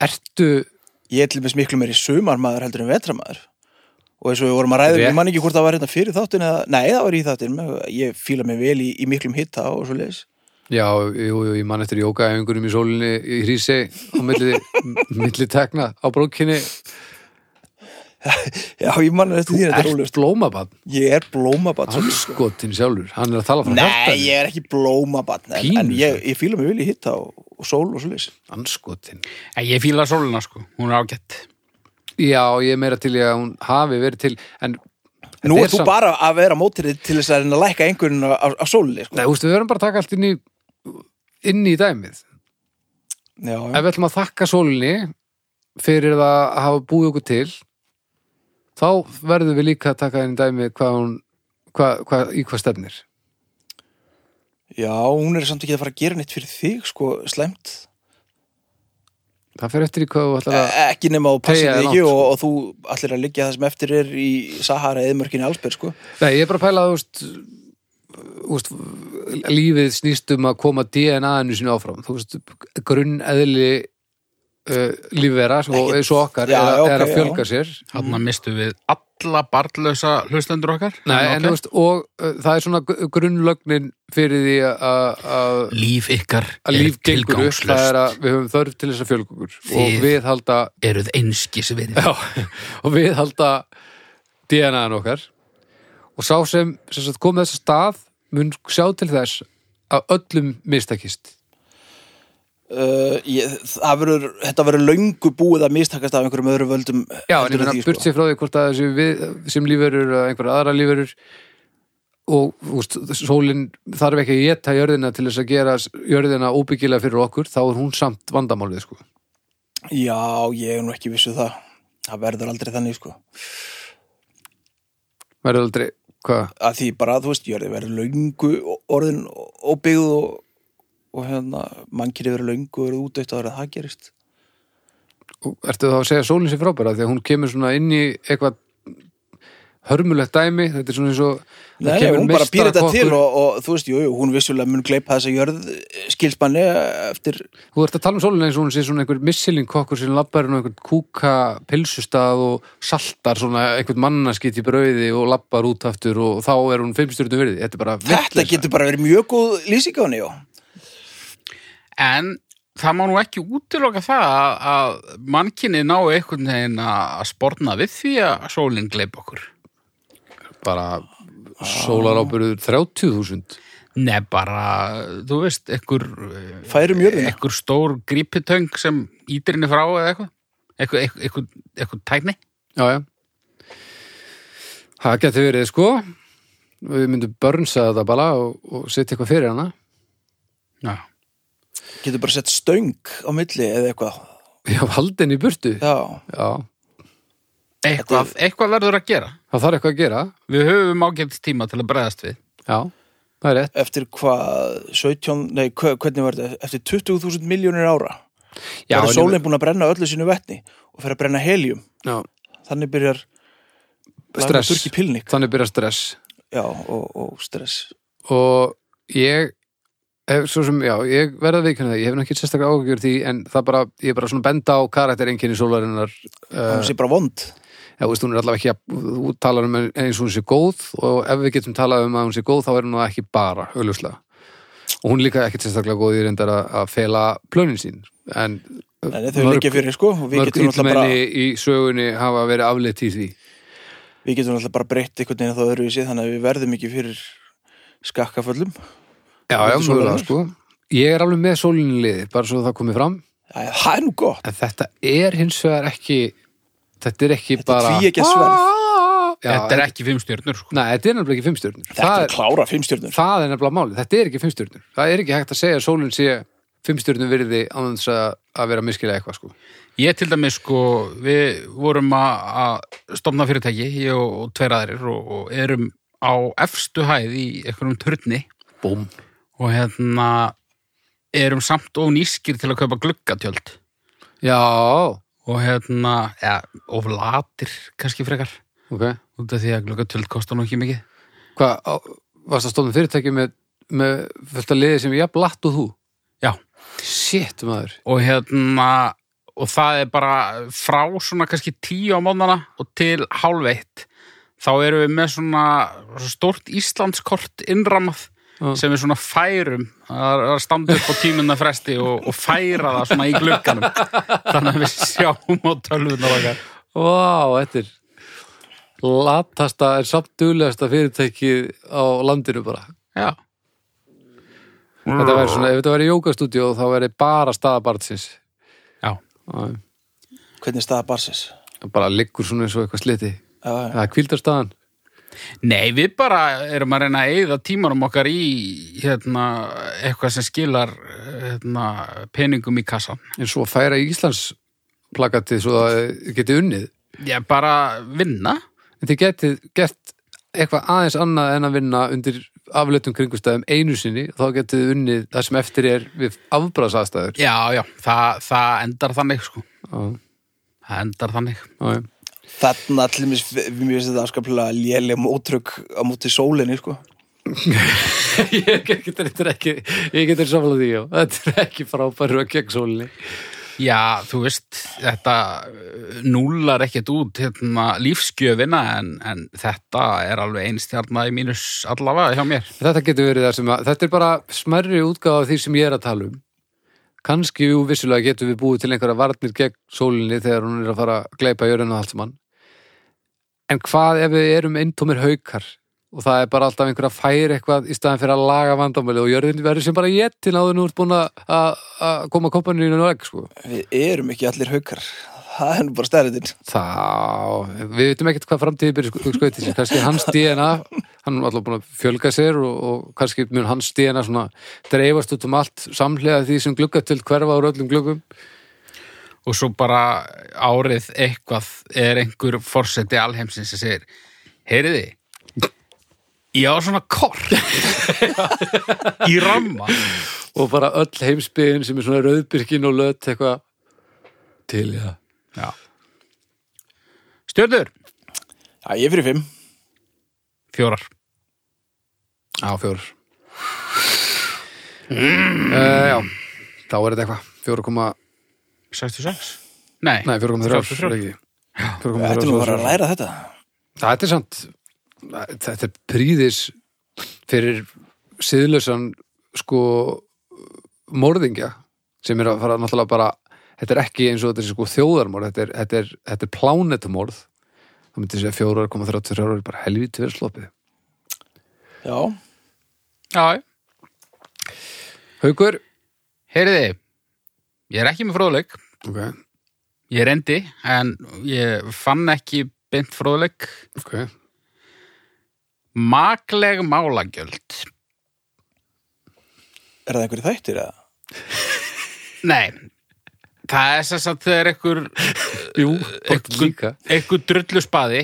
Speaker 2: Ertu
Speaker 1: Ég er til dæmis miklu meiri sumarmaður heldur en vetramaður. Og eins og við vorum að ræða,
Speaker 2: Rétt.
Speaker 1: ég man ekki hvort það var hérna fyrir þáttin eða, nei, það var í þáttin, ég fíla mig vel í, í miklum hitta og svo leis.
Speaker 2: Já, jú, jú, ég man eftir jókaæfingunum í sólinni í hrísi á milli, milli tekna á brókinni
Speaker 1: Já, ég man eftir því þetta er
Speaker 2: Ert
Speaker 1: ólust.
Speaker 2: blómabann,
Speaker 1: Ég er blómabann.
Speaker 2: hann skotin sjálfur Hann er að tala frá
Speaker 1: Nei,
Speaker 2: hjartan
Speaker 1: ég er ekki blómabann, en, en
Speaker 2: Pínu,
Speaker 1: ég, ég fíla mig vel í hitta og, og sól og svo leis.
Speaker 2: Hann skotin
Speaker 3: En ég fíla sóluna, sko. Hún er ágætt.
Speaker 2: Já, ég er meira til ég að hún hafi verið til En
Speaker 1: Nú
Speaker 2: þetta
Speaker 1: er þú
Speaker 2: samt-
Speaker 1: bara að vera mótrið til þess að reyna að lækka einhverjum á, á sólinni, sko.
Speaker 2: Nei, ústu, við verðum bara að taka allt inn í inn í dæmið
Speaker 1: Já, já.
Speaker 2: ef við ætlum að þakka sólinni fyrir það að hafa búið okkur til þá verðum við líka að taka einn dæmi hvað hún hvað, hvað, í hvað stefnir
Speaker 1: Já, hún er samt ekki að fara að gera neitt fyrir þig, sko, slæmt.
Speaker 2: það fer eftir í hvað þú ætlar að
Speaker 1: E- Ekki nema þú passir
Speaker 2: Teygja þig
Speaker 1: þig ekki
Speaker 2: langt, sko.
Speaker 1: og, og þú allir að liggja það sem eftir er í Sahara eða mörkinni allsberg, sko.
Speaker 2: Nei, ég er bara að pæla að úst, úst, lífið snýst um að koma DNA-inu sinni áfram þú veist, grunneðli uh, lífvera svo,
Speaker 1: Ekkert-
Speaker 2: svo okkar
Speaker 1: Já,
Speaker 2: er, að-
Speaker 1: ok,
Speaker 2: er að
Speaker 1: já.
Speaker 2: fjölga sér
Speaker 3: Þarna mistum við alla barnlösa hlustendur okkar.
Speaker 2: Mm. Nei,
Speaker 3: En ok.
Speaker 2: en, þú veist, og uh, það er svona gr- grunnlögnin fyrir því að- að
Speaker 3: Líf ykkar
Speaker 2: að líf gengur upp það er að við höfum þörf til þess að fjölga okkur og
Speaker 3: Þið-
Speaker 2: við halda
Speaker 3: eruð einskis við
Speaker 2: já, og við halda DNA-n okkar og sá sem, sem sagt, kom þess að stað mun sjá til þess að öllum mistakist
Speaker 1: Uh, ég, það verður, þetta verður löngu búið að mistakast af einhverjum öðru völdum
Speaker 2: já,
Speaker 1: heldur
Speaker 2: en ég meina
Speaker 1: því, sko.
Speaker 2: burt sér frá því hvort að þessi við, sem lífverur eða einhverja aðra lífverur og úst, sólin þarf ekki að geta jörðina til þess að gera jörðina óbyggilega fyrir okkur þá er hún samt vandamálið sko.
Speaker 1: Já, ég er nú ekki vissu það. Það verður aldrei þannig, sko.
Speaker 2: verður aldrei, hvað?
Speaker 1: Að því bara, þú veist, jörði verður löngu orðin og byggð og, og hérna, mannkynni verður löngu verður útdætt að það gerist.
Speaker 2: ertu þá að segja að sólinn sé frábæra því að hún kemur svona inn í eitthvað hörmulegt dæmi þetta er svona eins og það
Speaker 1: Nei, nei,
Speaker 2: kemur
Speaker 1: hún bara pýr þetta
Speaker 2: meistarakokkur.
Speaker 1: til og, og þú veist, jú, jú, hún vissulega mun gleipa þessa jörð eh, skilsmanni eftir,
Speaker 2: þú ert að tala um sólinn eins og hún sé svona einhver missilinkokkur sem labbar hún einhvern kúka pilsustað og saltar svona einhvern mannaskitt í brauði og labbar út aftur og þá er hún fimmstjörnum verið þetta er bara
Speaker 1: þetta
Speaker 2: vitleysa.
Speaker 1: getur bara verið mjög góð lýsing á henni, já.
Speaker 3: En það má nú ekki útiloka það að, að mannkinni ná einhvern veginn að sportna við því að sólinn gleip okkur.
Speaker 2: bara sólaráburður 30.000
Speaker 3: Nei, bara, þú veist, einhver,
Speaker 1: Færum jörðina.
Speaker 3: einhver stór grípitöng sem ítir henni frá eða eitthvað. Eitthvað, eitthvað, eitthvað, eitthvað tækni.
Speaker 2: já, já það getur verið sko við myndum börnsa þetta bara og, og setja eitthvað fyrir hana
Speaker 3: Já.
Speaker 2: Eh.
Speaker 1: Getur bara sett stöng á milli eða eitthvað.
Speaker 2: Já, haldin í burtu Já,
Speaker 1: Já,
Speaker 3: Eitthvað, eitthvað verður að gera.
Speaker 2: það þarf eitthvað að gera
Speaker 3: Við höfum ágætt tíma til að bregðast við.
Speaker 2: Já, það er rétt
Speaker 1: eftir hvað, 17, nei, hva- hvernig var þetta, eftir 20.000 miljónir ára. Já,
Speaker 2: Já, en ég-
Speaker 1: verður sólinn búin að brenna öllu sínu vetni og fer að brenna helium.
Speaker 2: Já.
Speaker 1: Þannig byrjar
Speaker 2: Stress.
Speaker 1: Turki pilnik.
Speaker 2: Þannig byrja stress
Speaker 1: Já, og, og stress.
Speaker 2: Og ég hef, svo sem, já, ég verða viðkjörna það Ég hef nú ekki sérstaklega áhugjur því En það bara, ég er bara svona að benda á karaktereinkenni sólarinnar
Speaker 1: Uh,
Speaker 2: uh,
Speaker 1: Hún sé bara vond.
Speaker 2: Já, veist, hún er allavega ekki að Þú talar um eins og hún sé góð Og ef við getum talað um að hún sé góð Þá er hún nú ekki bara, auðljóslega Og hún er líka ekki sérstaklega góð í reyndar að, að fela plönin sín en
Speaker 1: En þau liggja fyrir sko og við
Speaker 2: mörg
Speaker 1: getum alltaf bara,
Speaker 2: illmenni í sögunni hafa verið afleitt í því
Speaker 1: við getum alltaf bara breytt einhvern veginn þá öðru í sig þannig að við verðum ekki fyrir skakkaföllum
Speaker 2: já, já,
Speaker 1: Þetta er
Speaker 2: mögulega
Speaker 1: svoleiðis.
Speaker 2: sko ég er alveg með sólinliði, bara svo það komið fram
Speaker 1: Æ, Það er nú gott
Speaker 2: en þetta er hins vegar ekki þetta er ekki
Speaker 1: Þetta er
Speaker 2: bara
Speaker 1: tvíeggja sverð.
Speaker 2: Já,
Speaker 3: þetta er ekki fimm stjörnur sko.
Speaker 2: Nei, þetta er nefnilega ekki fimmstjörnur
Speaker 1: Þetta
Speaker 2: það,
Speaker 1: er klára fimm stjörnur
Speaker 2: það er nefnilega málið, þetta er ekki fimmstjörnur það er ekki hægt að segja að sólinn sé fimmstjörnur virði án þess að, að vera miskilja eitthvað sko.
Speaker 3: Ég til dæmis sko, við vorum að að stofna fyrirtæki, ég og, og tveir aðrir og, og erum á efstu hæð í einhverjum turni
Speaker 2: Búm
Speaker 3: og hérna erum samt of nískir til að kaupa gluggatjöld
Speaker 2: Já,
Speaker 3: og hérna, ja, of latir kannski frekar,
Speaker 2: ok
Speaker 3: út af því að gluggatjöld kostar nú ekki mikið.
Speaker 2: Hvað, á- varst að stóðum fyrirtæki með, með fullt að liði sem ég blatt og þú?
Speaker 3: Já,
Speaker 2: Shit, maður
Speaker 3: og hérna, og það er bara frá svona kannski tíu á mónana og til hálfeitt þá erum við með svona stórt Íslandskort innramað
Speaker 2: Já.
Speaker 3: sem við svona færum að að standa upp á tímunna fresti og, og færa það svona í glugganum þannig að við sjáum á tölvuna okkar
Speaker 2: Vá, þetta er latasta en samt duglegasta fyrirtæki á landinu bara
Speaker 3: Já
Speaker 2: Þetta væri svona, ef þetta væri jókastúdíó þá væri bara staða barnsins
Speaker 3: Já,
Speaker 2: Já,
Speaker 1: Hvernig er staða barsis?
Speaker 2: bara liggur svona eins og eitthvað sliti
Speaker 1: Já, já.
Speaker 2: Það er kvildarstaðan
Speaker 3: Nei, við bara erum að reyna að eyða tímanum okkar í hérna, eitthvað sem skilar hérna, peningum í kassan.
Speaker 2: En svo að færa í Íslands plakatið svo að þið getið unnið
Speaker 3: Ég bara vinna.
Speaker 2: En þið getið gert eitthvað aðeins annað en að vinna undir afleitum kringustæðum einu sinni þá getið þið unnið það sem eftir er við afbræðsastæður
Speaker 3: Já, já, það, það endar þannig sko. Það endar þannig.
Speaker 1: Þarna til dæmis, við mér finnst þetta afskaplega léleg mótrök á móti sólinni sko.
Speaker 2: Ég get þetta ekki ég get þetta samfélag því, já Þetta er ekki frábæru að gegn sólinni
Speaker 3: Já, þú veist, þetta uh, núlar ekkert út hérna, lífsgjöfina en, en þetta er alveg einstjarna í mínus allavega hjá mér.
Speaker 2: Þetta getur verið það sem að, þetta er bara smerri útgáfa af því sem ég er að tala um. Kanski, jú, vissulega getum við búið til einhverja varnir gegn sólinni þegar hún er að fara að gleypa jörðinu og allt saman. En hvað ef við erum eintómir haukar og það er bara alltaf einhver að færa eitthvað í staðan fyrir að laga vandamöli og jörðin verður sem bara jettin áður nú ert búin að- að að koma kompaninu og ekki, sko.
Speaker 1: Við erum ekki allir haukar Það er nú bara stærðin
Speaker 2: Þá, við veitum ekkert hvað framtíði byrja skauti sér, sko, kannski hans DNA hann er alltaf búin að fjölga sér og, og kannski mun hans DNA svona dreifast út um allt samlega því sem glugga til hverfa úr öllum gluggum
Speaker 3: Og svo bara árið eitthvað er einhver forseti alheimsins sem segir, heyriði, ég á svona kort í ramma.
Speaker 2: og bara öll heimsbyðin sem er svona rauðbyrkin og lött eitthvað til í það
Speaker 3: Já. Stjörður,
Speaker 1: Já, ég er fyrir fimm
Speaker 3: fjórar.
Speaker 2: Já, fjórar
Speaker 1: Mm.
Speaker 2: uh, Já, þá er þetta eitthvað 4,3
Speaker 3: 66? Nei,
Speaker 2: Nei, 4,3
Speaker 3: 33.
Speaker 2: er ekki. 4,3
Speaker 1: Þetta er nú bara að læra þetta
Speaker 2: Þetta er samt þetta er príðis fyrir siðlösan sko morðingja sem er að fara náttúrulega bara þetta er ekki eins og þetta er sko þjóðarmorð þetta er, þetta er, þetta er plánetumorð þá myndi ég segja 4,33 ára bara helvítið verið sloppið
Speaker 1: Já,
Speaker 3: Já,
Speaker 2: Haukur
Speaker 3: heyriði, ég er ekki með fróðleik,
Speaker 2: ok,
Speaker 3: ég reyndi, en ég fann ekki beint fróðleik.
Speaker 2: ok
Speaker 3: Makleg málagjöld.
Speaker 1: er það einhverju þættir eða?
Speaker 3: Nei, það er sem sagt þegar einhver,
Speaker 2: Jú, gott
Speaker 3: einhver-
Speaker 2: líka
Speaker 3: einhver drullu spaði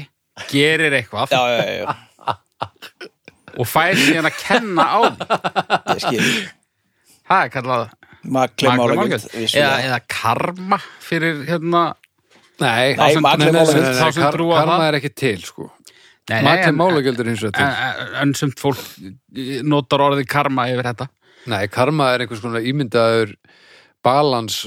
Speaker 3: gerir eitthvað
Speaker 1: Já, já, já, já,
Speaker 3: og fær síðan að kenna á því.
Speaker 1: ég skil
Speaker 3: það er kallað
Speaker 1: Makli
Speaker 3: makleg
Speaker 1: málagjöld
Speaker 3: málagjöld eða, eða karma fyrir hérna
Speaker 2: Nei,
Speaker 1: Nei,
Speaker 2: sem-
Speaker 1: makleg
Speaker 2: nei, nei,
Speaker 1: málagjöld.
Speaker 2: nei, nei,
Speaker 3: Þá sem
Speaker 2: kar-
Speaker 3: trúa
Speaker 2: karma
Speaker 3: það.
Speaker 2: er ekki til sko
Speaker 3: Nei, nei,
Speaker 2: Makleg
Speaker 3: en-
Speaker 2: málagjöldur eins og þetta
Speaker 3: en, en, en sem fólk notar orðið karma yfir þetta
Speaker 2: Nei, karma er einhvers konar ímyndaður balans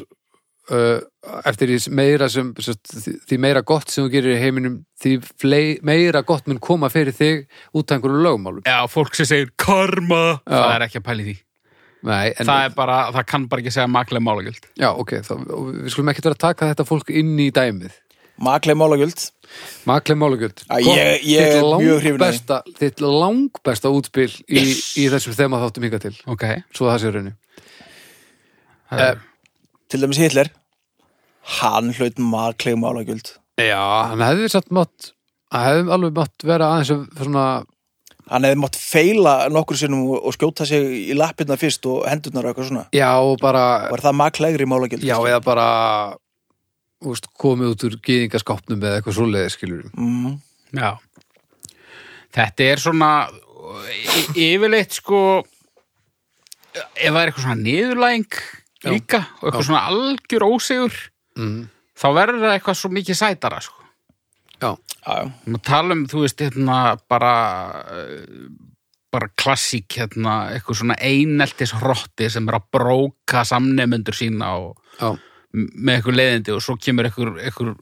Speaker 2: uh, eftir því sem meira sem, sem, sagt, því- því meira gott sem þú gerir í heiminum því flei, meira gott mun koma fyrir þig út af einhverju lögmálum
Speaker 3: Já, fólk sem segir karma
Speaker 2: Já.
Speaker 3: það er ekki að pæli því
Speaker 2: Nei, en
Speaker 3: það er bara, það kann bara ekki segja maklega málagjöld
Speaker 2: Já, ok, þá, og við skulum ekkert vera að taka þetta fólk inn í dæmið
Speaker 1: Maklega málagjöld
Speaker 2: Maklega málugjöld
Speaker 1: Já, ég- ég er mjög hrifinn af því.
Speaker 2: Þitt langbesta útspil í, í þessum þema þáttum hingað til
Speaker 3: ok,
Speaker 2: Svo það sé raunni
Speaker 3: það er,
Speaker 1: Til dæmis Hitler Hann hlaut maklega málagjöld
Speaker 2: Eh, Já, hann hefði satt mátt hann hefði alveg mátt vera aðeins að svona,
Speaker 1: Hann hefði mátt feila nokkur sinnum og, og skjóta sig í lappirna fyrst og hendurnar og eitthvað svona
Speaker 2: já, og bara
Speaker 1: Var það maklegri málagjöld?
Speaker 2: Já, eða bara úst, komið út úr gýðingaskápnum eða eitthvað svoleiði skilur
Speaker 1: mm,
Speaker 3: já þetta er svona y- yfirleitt sko ef það er eitthvað svona niðurlæðing líka og eitthvað svona algjör ósigur
Speaker 2: mm.
Speaker 3: þá verður það eitthvað svo mikið sætara sko
Speaker 2: Já,
Speaker 1: já, já.
Speaker 3: Nú tala um, þú veist, hérna bara eh, bara klassík hérna, eitthvað svona eineltis hrotti sem er að bróka samnemundur sína og
Speaker 2: já,
Speaker 3: með eitthvað leiðindi og svo kemur eitthvað, eitthvað,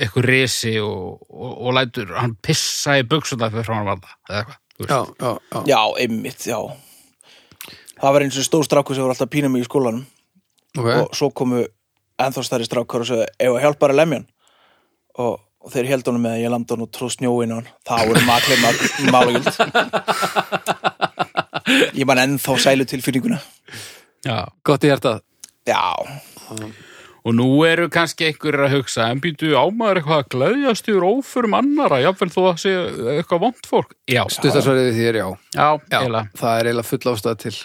Speaker 3: eitthvað resi og, og, og lætur hann pissa í buksuna fyrir frá hann varða eða eitthvað, þú veist.
Speaker 2: já, já, já.
Speaker 1: já, einmitt, já Það var eins og stór strákur sem var alltaf pínum í skólanum
Speaker 2: ok,
Speaker 1: og svo komu ennþá stærri strákar og sagði, ef að hjálpar að lemja hann og, og þeir held honum með að ég landa hann og tróð snjóin á hann það voru maklega málagjöld ég man ennþá sælu tilfinninguna
Speaker 3: Já.
Speaker 2: gott í hjartað
Speaker 1: já,
Speaker 3: og nú eru kannski einhverjir að hugsa en býtu ámaður eitthvað að gleðjast yfir óförum annara, jáfnvel þó að sé eitthvað vond fólk, já,
Speaker 2: Stuttarsvarið við þér, já,
Speaker 3: já,
Speaker 2: já
Speaker 3: eiginlega.
Speaker 2: Það er eiginlega full ástæða til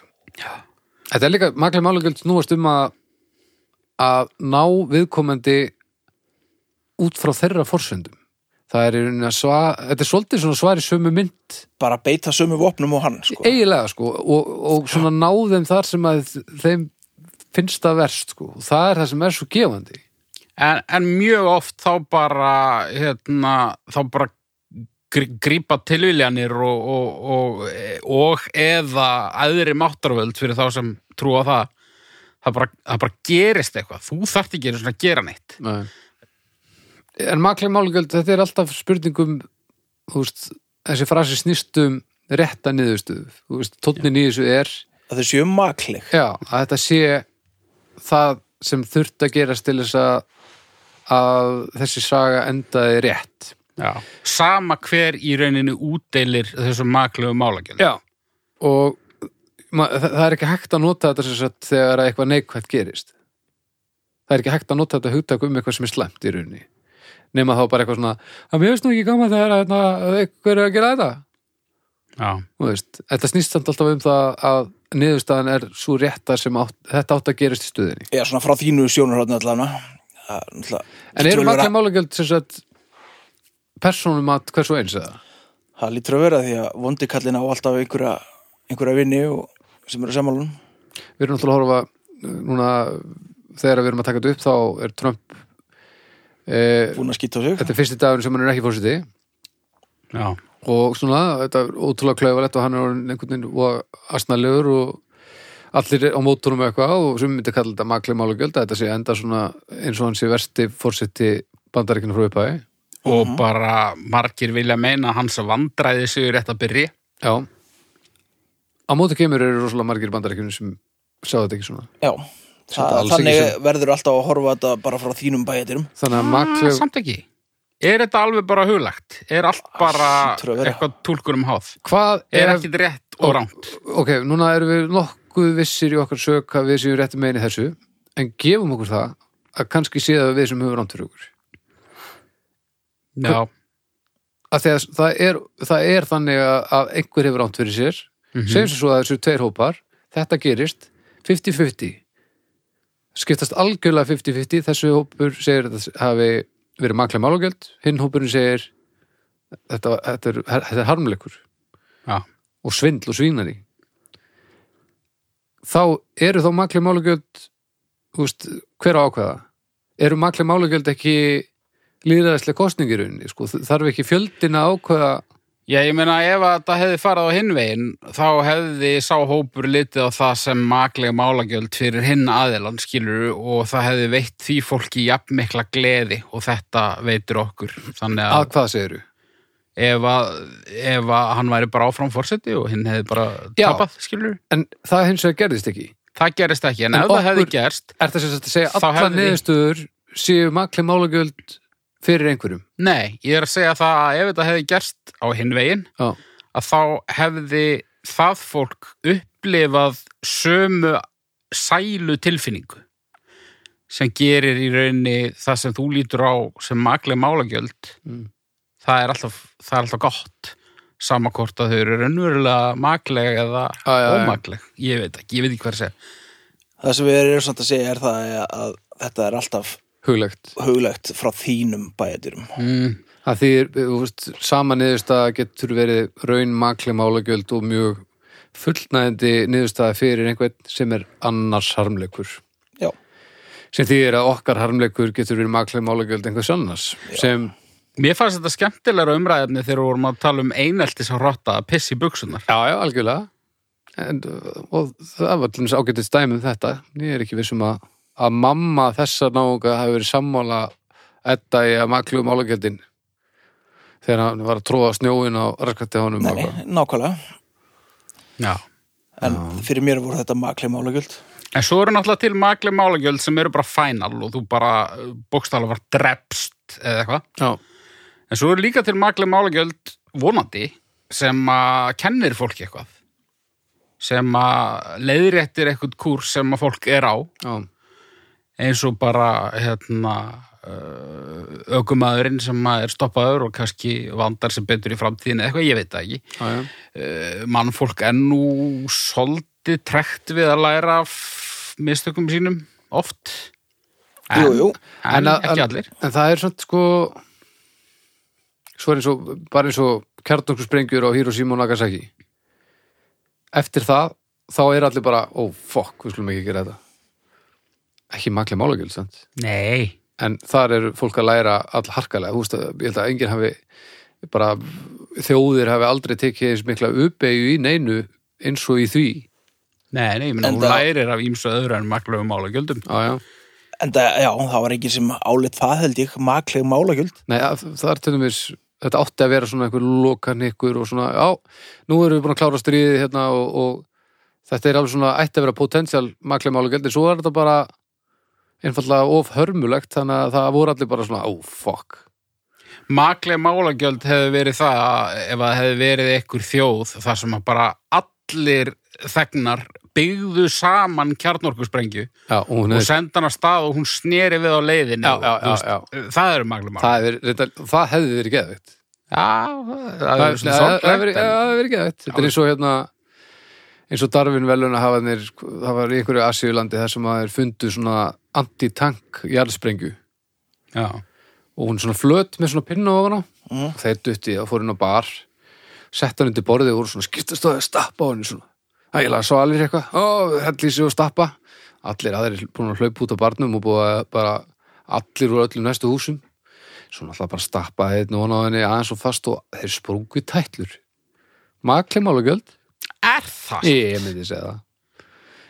Speaker 2: Þetta er líka maklega málugjöld snúast um að að ná viðkomandi út frá þeirra forsöndum Það er í rauninni að svar Þetta er svolítið svona svar í sömu mynd
Speaker 1: bara beita sömu vopnum og hann sko.
Speaker 2: eiginlega sko og, og svona ná þeim þar sem að þeim finnst það verst sko það er það sem er svo gefandi
Speaker 3: en, en mjög oft þá bara hérna, þá bara gr- grípa tilviljanir og, og, og, og eða aðri máttarvöld fyrir þá sem trúa á það það bara, það bara gerist eitthvað þú þarft ekki einu sinni að gera neitt
Speaker 2: Nei. en maklega málugjöld þetta er alltaf spurningum þú veist, þessi frasi snýstum rétta niðurstöðu þú veist, tónnin í þessu er
Speaker 1: að þau séu makleg
Speaker 2: já, að þetta sé það sem þurft að gerast til þess að að þessi saga endaði rétt
Speaker 3: Já. sama hver í rauninu útdeilir þessum maklegu málagjöld
Speaker 2: Já Og ma, þa- það er ekki hægt að nota þetta sem sagt þegar að eitthvað neikvætt gerist Það er ekki hægt að nota þetta hugtak um eitthvað sem er slæmt í rauninni nema þá bara eitthvað svona að mér veist nú ekki gaman þegar að hérna, eitthvað er að gera þetta
Speaker 3: Já.
Speaker 2: Þú veist, Þetta snýst samt alltaf um það að niðurstaðan er svo rétta sem átt, þetta átt að gerast í stuðinni
Speaker 1: já, svona frá þínu sjónurhóðn allavega Það er náttúrulega-
Speaker 2: En
Speaker 1: hlýtur
Speaker 2: eru
Speaker 1: að vera-
Speaker 2: maklega málagjöld sem sagt persónum að hversu eins eða?
Speaker 1: það lítur að vera því að vondi kallin á alltaf einhverja, einhverja vinni og, sem eru sammálunum
Speaker 2: við erum náttúrulega að horfa uh, núna þegar við erum að taka þetta upp þá er Trump eh,
Speaker 1: búin að skýta á sig
Speaker 2: þetta er fyrsti dagur sem hann er ekki fórseti
Speaker 3: Já.
Speaker 2: og svona, þetta er ótrúlega klaufalett og hann er orðinn einhvern veginn og asnalegur og allir er á mótunum eitthvað og sem myndi kalla þetta makli mál og gölda þetta sé enda svona eins og hann sé versti fórseti bandaríkina frá upphæði
Speaker 3: og
Speaker 1: Mhm.
Speaker 3: bara margir vilja meina að hans vandræði sig rétt að byrja
Speaker 2: já á móti kemur eru rosalega margir bandaríkinu sem sjá þetta ekki svona
Speaker 1: já,
Speaker 2: Samt
Speaker 1: það,
Speaker 2: alls ekki
Speaker 1: þannig
Speaker 2: sem-
Speaker 1: verður alltaf að horfa þetta bara frá þínum bæjadirum
Speaker 2: þannig að
Speaker 3: Ah,
Speaker 2: makli,
Speaker 3: samt ekki er þetta alveg bara huglagt er allt bara
Speaker 1: hlýtur að vera.
Speaker 3: eitthvað túlkur um háð
Speaker 2: hvað
Speaker 3: er
Speaker 2: er,
Speaker 3: ekkit rétt og rámt
Speaker 2: ok, núna erum við nokkuð vissir í okkar sök að við séum réttum megin í þessu en gefum okkur það að kannski sé það við sem höfum rámt fyrir okkur
Speaker 3: já,
Speaker 2: að þegar það er, það er þannig að- að einhver hefur rámt fyrir sér segjum sem svo að þessu tveir hópar þetta gerist 50-50 skiptast algjörlega 50-50 þessu hópur segir að það hafi verið maklega málugjöld hinn hópurinn segir þetta, þetta, er, þetta er harmleikur
Speaker 3: já,
Speaker 2: og svindl og svínari þá eru þá makli málugjöld úst, hver á ákveða eru makli málugjöld ekki líðræðislega kostningirunni sko, þarf ekki fjöldin að ákveða
Speaker 3: já ég meina ef að það hefði farið á hinn veginn þá hefði sá hópur litið á það sem maklega málagjöld fyrir hinn aðilann skilur og það hefði veitt því fólki jafn mikla gleði og þetta veitur okkur þannig
Speaker 2: að
Speaker 3: að
Speaker 2: hvað segiru
Speaker 3: ef að, ef að hann væri bara áfram fórseti og hinn hefði bara
Speaker 2: Já.
Speaker 3: tapað, skilur
Speaker 2: En það hins vegar gerðist ekki.
Speaker 3: það gerist ekki, en,
Speaker 2: En
Speaker 3: ef það hefði
Speaker 2: okkur-
Speaker 3: gerst
Speaker 2: Er það sem sagt að segja
Speaker 3: Þá
Speaker 2: allar
Speaker 3: hefði-
Speaker 2: hefði... niðurstöður séu makli málagjöld fyrir einhverjum?
Speaker 3: nei, ég er að segja það að ef þetta hefði gerst á hinn veginn
Speaker 2: Já.
Speaker 3: að þá hefði það fólk upplifað sömu sælu tilfinningu sem gerir í rauninni það sem þú lítur á sem maklega málagjöld
Speaker 2: Mm.
Speaker 3: það, er alltaf, það er alltaf gott samakort að þau eru raunverulega makleg eða
Speaker 2: Já, já, já.
Speaker 3: ómakleg ég veit ekki, ég veit ekki hvað að segja
Speaker 1: Það sem við erum samt að segja er það að þetta er alltaf
Speaker 2: Huglegt.
Speaker 1: huglegt frá þínum bæjadýrum.
Speaker 3: mm.
Speaker 2: Það því, þú veist, sama niðurstaða getur verið raun makli málagjöld og mjög fullnæðandi niðurstaða fyrir einhvern sem er annars harmleikur.
Speaker 1: Já,
Speaker 2: sem því er að okkar harmleikur getur verið maklega málagjöld einhvers annars sem,
Speaker 3: mér fannst þetta skemmtilega umræðefni þegar við vorum að tala um eineltis að rotta að pissi buksunar
Speaker 2: já, já, algjörlega en, og það var allir ágætið dæmi um þetta ég er ekki vissum að, að mamma þessa náunga hafi verið sammála edda í að maklega málagjöldin þegar hann var að tróða snjóin á raskatti honum
Speaker 1: nei,
Speaker 2: og eitthvað.
Speaker 1: nei, nákvæmlega.
Speaker 3: já
Speaker 1: En fyrir mér voru þetta maklega málagjöld.
Speaker 3: En svo eru náttúrulega til magli málagjöld sem eru bara final og þú bara bókstala var drepst eða eitthvað.
Speaker 2: já,
Speaker 3: En svo eru líka til magli málagjöld vonandi sem að kennir fólki eitthvað. Sem að leiðréttir eitthvað kúrs sem að fólk er á
Speaker 2: já,
Speaker 3: eins og bara hérna uh, ökumæðurinn sem að er stoppaður og kannski vandar sem betur í framtíðinu eða eitthvað, ég veit það ekki
Speaker 2: já, já.
Speaker 3: Eh, mannfólk er nú svolítið trekt við að læra af mistökum sínum oft en,
Speaker 1: Jú, jú.
Speaker 3: en,
Speaker 2: að-
Speaker 3: ekki allir
Speaker 2: en það er svona sko svo er eins og bara eins og kjarnorkusprengjur á Hiroshima og Nagasaki eftir það þá er allir bara, ó oh, fokk, við skulum ekki gera þetta ekki maklega málagjöld sant?
Speaker 3: nei,
Speaker 2: en þar er fólk að læra all harkalega, þú veist að ég held að enginn hafi bara þjóðir hafi aldrei tekið eins mikla uppeyju í neinu eins og í því
Speaker 3: nei, nei, ég meina
Speaker 1: En
Speaker 3: hún
Speaker 1: það-
Speaker 3: lærir af ímsu öðru en maklöfum álagjöldum
Speaker 2: á, já.
Speaker 1: En það, já, það var enginn sem álit það held ég, maklega málagjöld.
Speaker 2: Nei, að- það er til dæmis þetta átti að vera svona einhver lokan ykkur og svona, já, nú erum við búin að klára stríðið hérna og, og þetta er alveg svona ætti að vera potensial maklega mála gældi, svo er þetta bara einfallega of hörmulegt, þannig að það voru allir bara svona, ó, fuck
Speaker 3: maklöfum álagjöld hefði verið það að- ef það hefði verið ekkur þjóð þar sem að bara allir þegnar byggðu saman kjarnorkusprengju
Speaker 2: Já, og hún
Speaker 3: og
Speaker 2: er,
Speaker 3: senda hann að stað og hún sneri við á leiðinu
Speaker 2: Já,
Speaker 3: og,
Speaker 2: já,
Speaker 3: þú veist,
Speaker 2: já,
Speaker 3: það eru maklöfum álagjöld
Speaker 2: það, er, reynda, það hefði verið geðveikt
Speaker 3: já, það
Speaker 2: Það
Speaker 3: eru
Speaker 2: hefði
Speaker 3: svona
Speaker 2: það hefði
Speaker 3: sorglegt
Speaker 2: verið-
Speaker 3: en-
Speaker 2: það hefði verið geðveikt Þetta er eins og hérna eins og Darwin velun að hafa þér það var í einhverju Asíulandi þar sem að þeir fundu svona anti-tank jarðsprengju
Speaker 3: Já.
Speaker 2: og hún svona flöt með svona pinna ofan á
Speaker 1: Mhm.
Speaker 2: og þeir dutti og fór inn á bar sett hann undir borðið og voru svona skiptast og stappa á henni svona ægilega svalir eitthvað, ó, hell í sig og stappa allir aðrir búin að hlaupa út á barnum og búið að bara allir úr öllum næstu húsum svona alltaf bara stappa einn og hann á henni aðeins og fast og þeir sprungu í tætlur makli málugjöld
Speaker 3: Er það?
Speaker 2: ég myndi segja það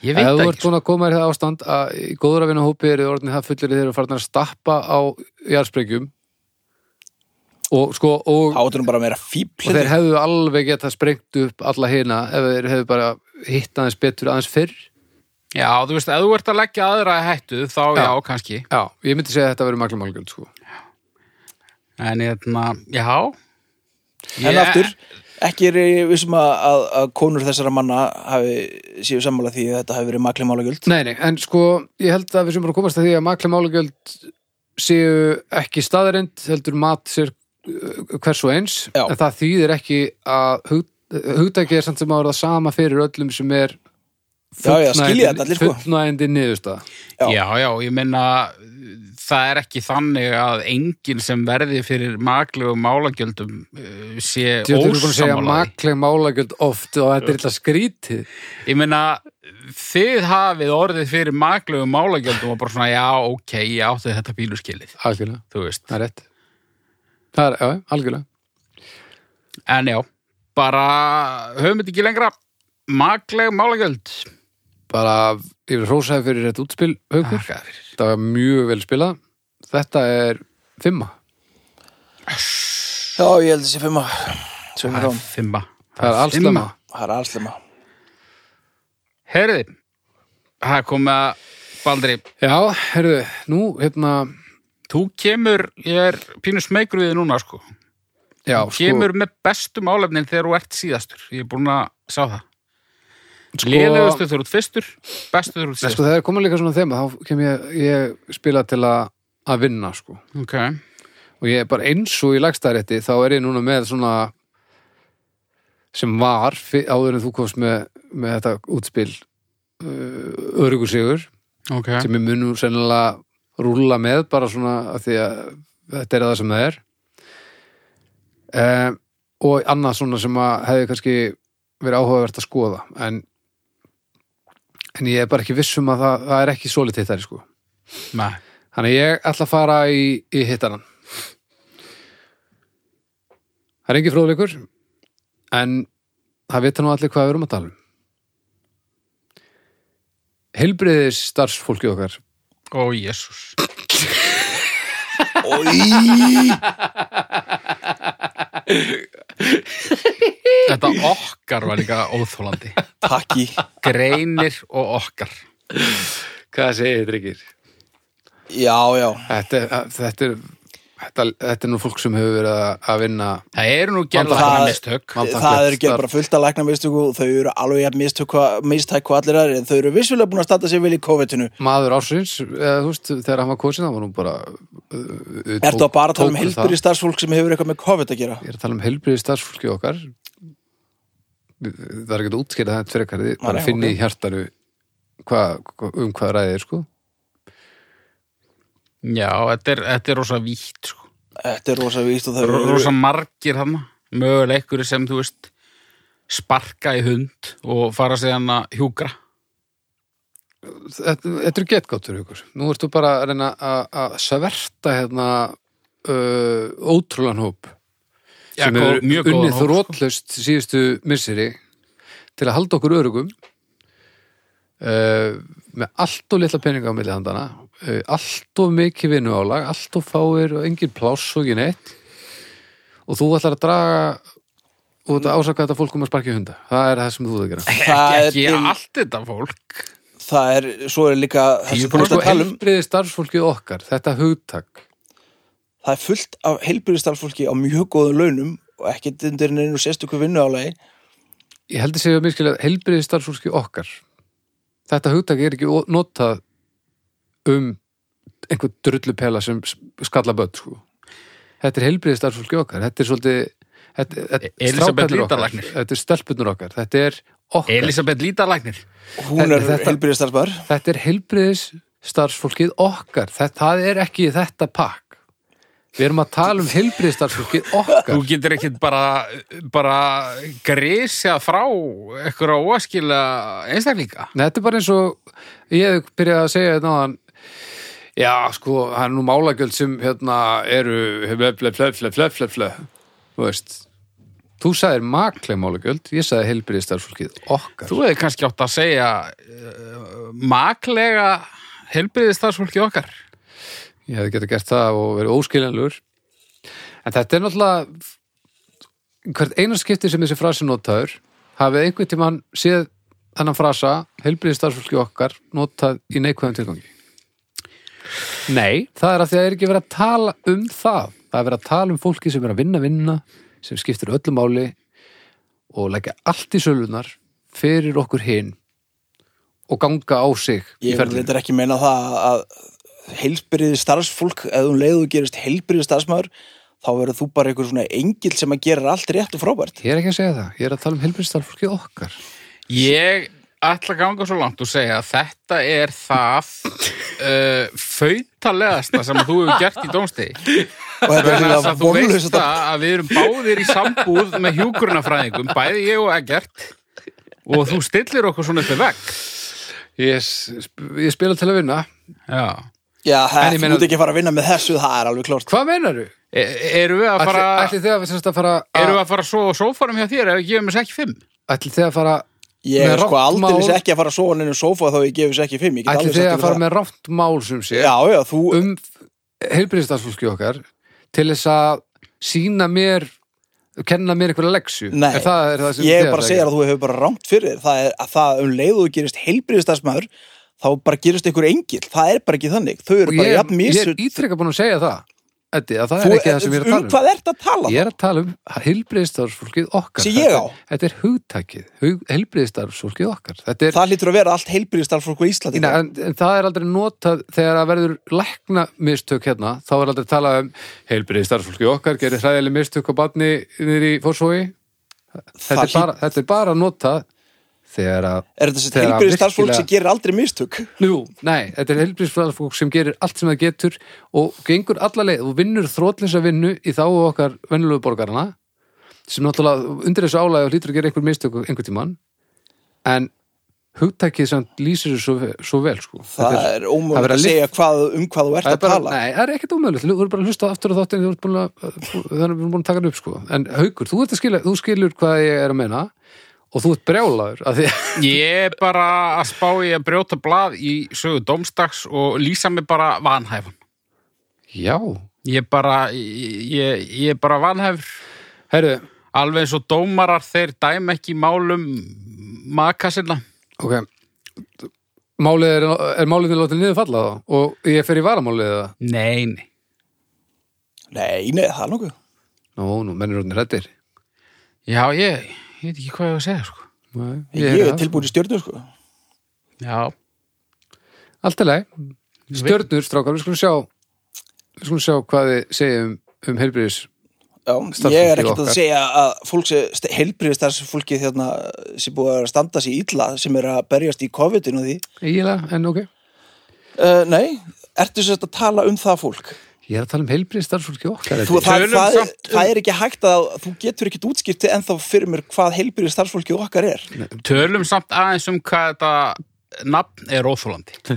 Speaker 3: Ég
Speaker 2: Ef
Speaker 3: veit
Speaker 2: þú
Speaker 3: það
Speaker 2: ert
Speaker 3: ekki. sko.
Speaker 2: búin að koma í það ástand að í góðra vinna hópi eru orðinni það fullir þeir eru farin að stappa á jarðsprengjum og sko og, og
Speaker 1: Átunum bara meira fíbl.
Speaker 2: þeir hefðu alveg getað sprengt upp alla hina ef þeir hefðu bara hitt aðeins betur aðeins fyrr
Speaker 3: Já, þú veist, ef þú ert að leggja aðra í hættu, þá já,
Speaker 2: Já.
Speaker 3: kannski.
Speaker 2: Já, ég myndi segja að þetta verið maklum algjöld sko.
Speaker 3: En hérna, já.
Speaker 1: En aftur, ekki er ég vissum að, að, að konur þessara manna hafi séu sammála því að þetta hafi verið maklega málagjöld.
Speaker 2: Nei, nei, en sko ég held að við sem bara komast að því að maklum algjöld séu ekki staðarind heldur mat sér uh, hvers og eins
Speaker 1: Já.
Speaker 2: en það þýðir ekki að hug, hugtækið er samt sem að vera það sama fyrir öllum sem er
Speaker 1: Já, já, skilja þetta allir, sko.
Speaker 2: fullnægindi niðurstaða
Speaker 3: Já.
Speaker 1: Já.
Speaker 3: já, ég meina, það er ekki þannig að enginn sem verði fyrir maglegu málagjöldum uh, sé
Speaker 2: Þú erum búin að segja
Speaker 3: ósamálaði.
Speaker 2: makleg málagjöld oft og þetta er illa skrítið
Speaker 3: Ég meina, þið hafið orðið fyrir maglegu málagjöldum og bara svona, já, ok, ég átti þetta bíluskilið,
Speaker 2: Algjörlega,
Speaker 3: þú veist.
Speaker 2: það er rétt Það er, já, algjörlega
Speaker 3: En já, bara höfum þetta ekki lengra. Maglegu málagjöld.
Speaker 2: bara, ég vil hrósaði fyrir þetta útspil haukur,
Speaker 3: Þakkaði fyrir.
Speaker 2: þetta var mjög vel spilað þetta er fimma
Speaker 1: Já, ég held þessi fimm ár. Sveimur
Speaker 3: það
Speaker 1: Róm.
Speaker 3: er fimma
Speaker 2: Það er allslemma.
Speaker 1: Það er allslemma.
Speaker 3: Herði, það er komið að Baldri,
Speaker 2: Já, herðu, nú, hérna,
Speaker 3: þú kemur ég er pínu smeykur við þig núna sko
Speaker 2: já, sko.
Speaker 3: Þú kemur með bestu málefnin þegar þú ert síðastur ég er búin að sjá það sko, lélegustu þegar þú ert fyrstur bestu þegar þú ert
Speaker 2: Nei, sko,
Speaker 3: síðastur
Speaker 2: það er komin líka svona þema, þá kem ég, ég spila til að, að vinna, sko.
Speaker 3: ok,
Speaker 2: Og ég er bara eins og í lagstæðarétti, þá er ég núna með svona sem var fi- áður en þú komst með, með þetta útspil uh, örugur sigur,
Speaker 3: ok
Speaker 2: sem ég mun nú sennilega rúlla með, bara svona að því að þetta er það sem það er. Um, og annað svona sem að hefði kannski verið áhugavert að skoða, en en ég er bara ekki viss um að það, það er ekki svolítið hittari sko.
Speaker 3: Nei.
Speaker 2: Þannig að ég ætla að fara í, í hittaran. Það er engin fróðleikur, en það vita nú allir hvað við erum að tala um. Helbriðis starfsfólki okkar.
Speaker 3: ó jésús
Speaker 1: Í,
Speaker 3: þetta okkar var líka óþólandi
Speaker 1: takki.
Speaker 3: greinir og okkar
Speaker 2: Hvað segir þetta ekki?
Speaker 1: Já, já.
Speaker 2: Þetta, er- þetta, er- þetta, þetta er nú fólk sem hefur verið að- að vinna.
Speaker 3: það eru nú gerða
Speaker 1: það-
Speaker 3: það mistök
Speaker 2: Vandaklegt
Speaker 1: það eru gerð
Speaker 2: starf.
Speaker 1: bara fullt að lækna mistök og þau eru alveg jafn mistök hvað- mistæk hvað allir aðrir en þau eru vissulega búin að standa sér vel í COVID-inu.
Speaker 2: Maður ársins, eða, þú veist, þegar hann var kosin, það var nú bara... Uh,
Speaker 1: Ertu að bara tala um heilbyrði starfsfólk sem hefur eitthvað með COVID að gera?
Speaker 2: Ég er að tala um helbriði starfsfólki okkar það er ekki að útskýra það fyrir ykkar, þið bara
Speaker 1: Nei,
Speaker 2: finni
Speaker 1: ok.
Speaker 2: í hjartaru hva, um hvað ræðið er sko
Speaker 3: já, þetta er, þetta er rosa vítt sko.
Speaker 1: Þetta er rosa víst og þau
Speaker 3: Ro-
Speaker 1: eru...
Speaker 3: rosa margir hann mögulega einhverju sem þú veist sparka í hund og fara síðan að hjúgra
Speaker 2: þetta, þetta er getgáttur ykkur nú ertu bara að reyna að- að sverta hérna uh, ótrúlan hóp
Speaker 3: Já,
Speaker 2: sem
Speaker 3: góð-
Speaker 2: er
Speaker 3: mjög góðan
Speaker 2: unnið
Speaker 3: hóp, sko.
Speaker 2: þrótlaust síðustu misseri til að halda okkur örugum uh, með allt og litla peninga á milli handana uh, allt og mikið vinnu álag allt og fáir og engin pláss og ekki neitt og þú ætlar að draga og þetta ásaka þetta fólk um að sparki hunda það er það sem þú ert að gera
Speaker 1: Það er
Speaker 3: ekki
Speaker 1: til-
Speaker 3: allt þetta fólk
Speaker 1: Það er, svo er líka það sem þú ert
Speaker 2: sko,
Speaker 1: að tala um,
Speaker 2: helbriði starfsfólkið okkar, þetta hugtak
Speaker 1: það er fullt af heilbyrðistarfsfólki á mjög góðum launum og ekkert undir neinu sérstöku vinnuálagi
Speaker 2: ég held að segja mér skilja helbriði starfsfólki okkar þetta hugtak er ekki o- notað um einhver drullupela sem s- skalla börn sko. þetta er helbriði starfsfólki okkar þetta er svolítið þetta, þetta,
Speaker 3: Elisabeth
Speaker 2: strákarnir okkar,
Speaker 3: Lítalagnir.
Speaker 2: þetta er stelpunur okkar þetta er okkar,
Speaker 3: Elisabeth Lítalæknir
Speaker 1: hún er
Speaker 2: Þetta- þetta-
Speaker 1: heilbyrðistarfsmaður
Speaker 2: þetta er helbriðis starfsfólkið okkar þetta, það er ekki þetta pakk við erum að tala um helbriði starfsfólkið
Speaker 3: Þú
Speaker 2: okkar
Speaker 3: getur ekkit bara, bara grísjað frá eitthvað óaskila einstaklinga
Speaker 2: Nei, þetta er bara eins og ég hef byrjað að segja þetta náðan já, sko, það er nú málagjöld sem hérna eru ble, ble, ble, ble, ble, ble, ble. þú veist þú sagðir makleg málagjöld ég sagði heilbyrðið starfsfólkið okkar
Speaker 3: Þú hefði kannski átt að segja uh, maklega helbriðistarsfólki okkar
Speaker 2: ég hefði getað gert það og verið óskiljanlegur en þetta er náttúrulega hvert eina skipti sem þessi frasi notaður hafið einhvern tímann séð þannan frasa heilbyrðið starfsfólki okkar notað í neikvæðum tilgangi Nei, það er að því að það er ekki verið að tala um það það er verið að tala um fólki sem er að vinna vinna sem skiptir öllu máli og leggja allt í sölunar fyrir okkur hinn og ganga á sig í
Speaker 1: ég
Speaker 2: ferlinu.
Speaker 1: vil ekki meina það að heilbyrðistarfsfólk ef um hún leiðu gerist heilbyrðistarfsmaður þá verður þú bara einhver svona engil sem að gera allt rétt og frábært
Speaker 2: Ég er ekki að segja það, ég er að tala um helbriðstarfólki okkar
Speaker 3: Ég ætla að ganga svo langt og segja að þetta er það uh, fautalegasta sem þú hefur gert í dómstegi
Speaker 1: og þetta er
Speaker 3: Vegna þess
Speaker 1: líka
Speaker 3: að þú
Speaker 1: vonlaus
Speaker 3: veist
Speaker 1: þetta
Speaker 3: það að við erum báðir í sambúð með hjúgrunafræðingum, bæði ég og Eggert og þú stillir okkur svona uppi vekk
Speaker 2: Ég, sp- ég spila til að vinna
Speaker 3: Já.
Speaker 1: já,
Speaker 2: En
Speaker 1: það
Speaker 2: ég
Speaker 1: þú
Speaker 2: meina-
Speaker 1: ert ekki að fara að vinna með þessu það er alveg klart
Speaker 2: Hvað meinaru?
Speaker 3: E eru við að fara
Speaker 2: Ætli þið að, sem sagt, að fara
Speaker 3: eru
Speaker 2: að,
Speaker 3: við að fara svo á sófarum hjá þér ef við gefum þess ekki fimm
Speaker 2: Ætli þið að fara
Speaker 1: ég
Speaker 2: Með
Speaker 1: er sko
Speaker 2: rangt
Speaker 1: aldrei
Speaker 2: mál-
Speaker 1: ekki að fara að sofa nefnum sófa þá ég gefis ekki fimm ég get
Speaker 2: Ætli
Speaker 1: alveg
Speaker 2: þið
Speaker 1: sagt
Speaker 2: að
Speaker 1: ykkur
Speaker 2: fara
Speaker 1: það.
Speaker 2: með rátt mál sem sé
Speaker 1: já, já, þú
Speaker 2: um helbriðstarfólki okkar til þess að sína mér kenna mér einhverja leksu
Speaker 1: Nei,
Speaker 2: er það, er það sem
Speaker 1: ég
Speaker 2: þið
Speaker 1: er bara að
Speaker 2: ætlið
Speaker 1: segja
Speaker 2: gera?
Speaker 1: að þú hefur bara rangt fyrir þér. það er að það um leið og þú gerist heilbriðistarsmaður þá bara gerist einhver engil það er bara ekki þannig, þau eru
Speaker 2: og ég,
Speaker 1: bara
Speaker 2: er-
Speaker 1: jafn
Speaker 2: ég er
Speaker 1: misut
Speaker 2: ítrekka búin að segja það Eddi, að það
Speaker 1: Þú-
Speaker 2: er ekki það sem ég er að
Speaker 1: um
Speaker 2: tala um
Speaker 1: hvað ert að tala
Speaker 2: ég er að tala um heilbriðstarfsfólkið okkar
Speaker 1: Sem ég
Speaker 2: Þetta-
Speaker 1: á.
Speaker 2: þetta er hugtækið, heilbriðstarfsfólkið okkar þetta er,
Speaker 1: það hlýtur að vera allt heilbriðistarsfólk á Íslandi
Speaker 2: Nei, en, en það er aldrei notað þegar að verður lækna mistök hérna, þá er aldrei talað um heilbriði starfsfólki okkar, gerir hræðileg mistök á barni niður í fórsói þetta,
Speaker 1: Það
Speaker 2: er bara- þetta er bara notað þegar að
Speaker 1: er þetta þessi
Speaker 2: þegar að
Speaker 1: heilbriðistarsfólk sem
Speaker 2: virkilega-
Speaker 1: gerir aldrei mistök
Speaker 2: Nú, nei, þetta er helbriðsfólk sem gerir allt sem það getur og gengur alla leið og vinnur þrótlisa vinnu í þá okkar vennulegu borgarana sem náttúrulega undir þessu álæði og hlýtur að gera einhver mistök einhver tímann en hugtækið sem lýsir þessu svo, svo vel sko.
Speaker 1: það
Speaker 2: Þetta
Speaker 1: er
Speaker 2: það er
Speaker 1: ómögulegt
Speaker 2: að
Speaker 1: að segja hvað, um hvað þú ert
Speaker 2: Það er
Speaker 1: að
Speaker 2: bara,
Speaker 1: tala
Speaker 2: nei, það er ekkert ómögulegt, þú eru bara að hlusta aftur á þáttin þannig að við erum búin að taka hann upp sko. en haukur, þú, ert að skilja, þú skilur hvað ég er að meina og þú ert brjálaður af því,
Speaker 3: Ég er bara að spá í að brjóta blað í sögu domstags og lýsa mig bara vanhæfan.
Speaker 2: já,
Speaker 3: Ég er bara, ég, ég- ég er bara vanhæfur.
Speaker 2: herru
Speaker 3: Alveg eins og dómarar þeir dæma ekki í málum maka sinna.
Speaker 2: ok málið er, er málið til að láta niður falla þá og ég fer í varamálið það
Speaker 3: Nei, nei.
Speaker 1: nei, nei, það er nokkuð
Speaker 2: nú, nú, mennir rótni rættir
Speaker 3: Já, ég, ég veit ekki hvað ég á að segja, sko.
Speaker 1: ég er tilbúin í stjörnu sko.
Speaker 3: Já.
Speaker 2: allt er leið, stjörnur, strákar við skulum sjá við skulum sjá hvað þið segjum um heilbyrðis
Speaker 1: Já,
Speaker 2: Starfsfólkið
Speaker 1: ég er ekkert að
Speaker 2: okkar.
Speaker 1: segja að fólk sem heilbriðistarsfólki þérna sem hérna búið að standa sér illa sem er að berjast í COVID-19 og því
Speaker 2: eiginlega, en ok
Speaker 1: Uh, nei, ertu sérst að tala um það fólk?
Speaker 2: ég er að tala um heilbyrðis starfsfólki okkar
Speaker 1: Þú,
Speaker 2: Eddi.
Speaker 1: það,
Speaker 3: Tölum
Speaker 1: það,
Speaker 3: samt um-
Speaker 1: það er ekki hægt að þú getur ekkit útskipti ennþá fyrir mér hvað heilbyrði starfsfólkið okkar er.
Speaker 3: Tölum samt aðeins um hvað þetta nafn er óþólandi.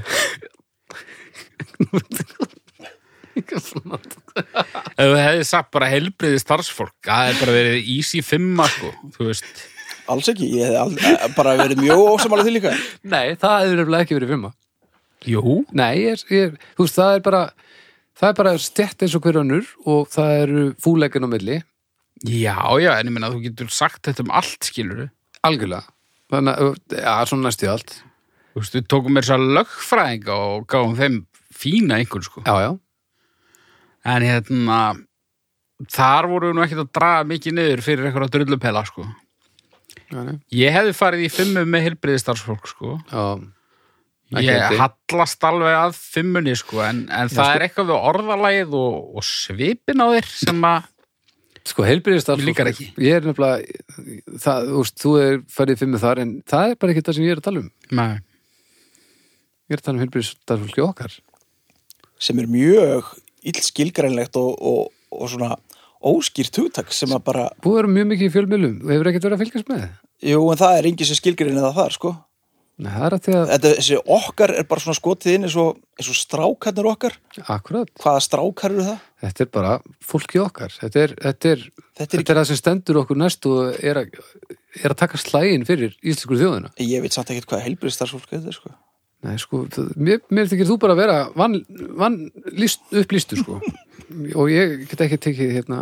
Speaker 3: Ef þú hefði sagt bara helbriði starfsfólk, það er bara verið easy fimma, sko, þú veist.
Speaker 1: Alls ekki, ég hef al, eh, bara verið mjög ósamála því líka.
Speaker 2: Nei, það hefur nefnilega ekki verið fimma.
Speaker 3: Jú.
Speaker 2: Nei, ég, er- ég, er- þú veist, það er bara það er bara stett eins og hver önnur og það eru fúleikin á milli
Speaker 3: Já, já, en ég minna, þú getur sagt þetta um allt, skilur við.
Speaker 2: algjörlega. Þannig að, já, svona næstu allt.
Speaker 3: Þú veist, við tókum mér svo lögfræðinga og gáum þeim fína einhvern, sko.
Speaker 2: Já, já.
Speaker 3: En hérna, þar voru við nú ekkert að draga mikið niður fyrir einhverja drullupela, sko.
Speaker 2: Já, nei.
Speaker 3: Ég hefði farið í fimmu með helbriði starfsfólk, sko.
Speaker 2: já. Ekki
Speaker 3: Ég
Speaker 2: eftir.
Speaker 3: hallast alveg að fimmunni sko en, en það
Speaker 2: sko.
Speaker 3: er eitthvað við orðalagið og, og svipin á þér sem að
Speaker 2: Sko, heilbyrðistar...
Speaker 3: Mér líkar ekki.
Speaker 2: Ég er nefnilega, það, þú veist, þú er færið fimm með þar en það er bara ekki það sem ég er að tala um.
Speaker 3: Nei.
Speaker 2: Ég er að tala um heilbyrðistar fólki okkar.
Speaker 1: Sem er mjög illskilgrænlegt og, og, og svona óskýrt hugtak sem að bara,
Speaker 2: Búið erum mjög mikið í fjölmjölum og hefur ekkert verið að fylgjast með.
Speaker 1: jú, en það er engin sem skilgrænir það þar, sko.
Speaker 2: Nei, það er að því að,
Speaker 1: Þetta, þessi okkar er bara svona skotið inn eins og, eins og strákarnir okkar.
Speaker 2: akkurat,
Speaker 1: Hvaða strákar eru það?
Speaker 2: þetta er bara fólki okkar þetta er, þetta er,
Speaker 1: Þetta
Speaker 2: þetta
Speaker 1: er
Speaker 2: er, það sem stendur okkur næst og er að, er að taka slægin fyrir íslenskur þjóðina
Speaker 1: Ég veit samt ekkert hvað heilbyrði starfsfólk er, sko.
Speaker 2: Nei, sko, það, mér, mér þykir þú bara að vera vann, van, list, upplýstur sko. og ég get ekki tekið hérna,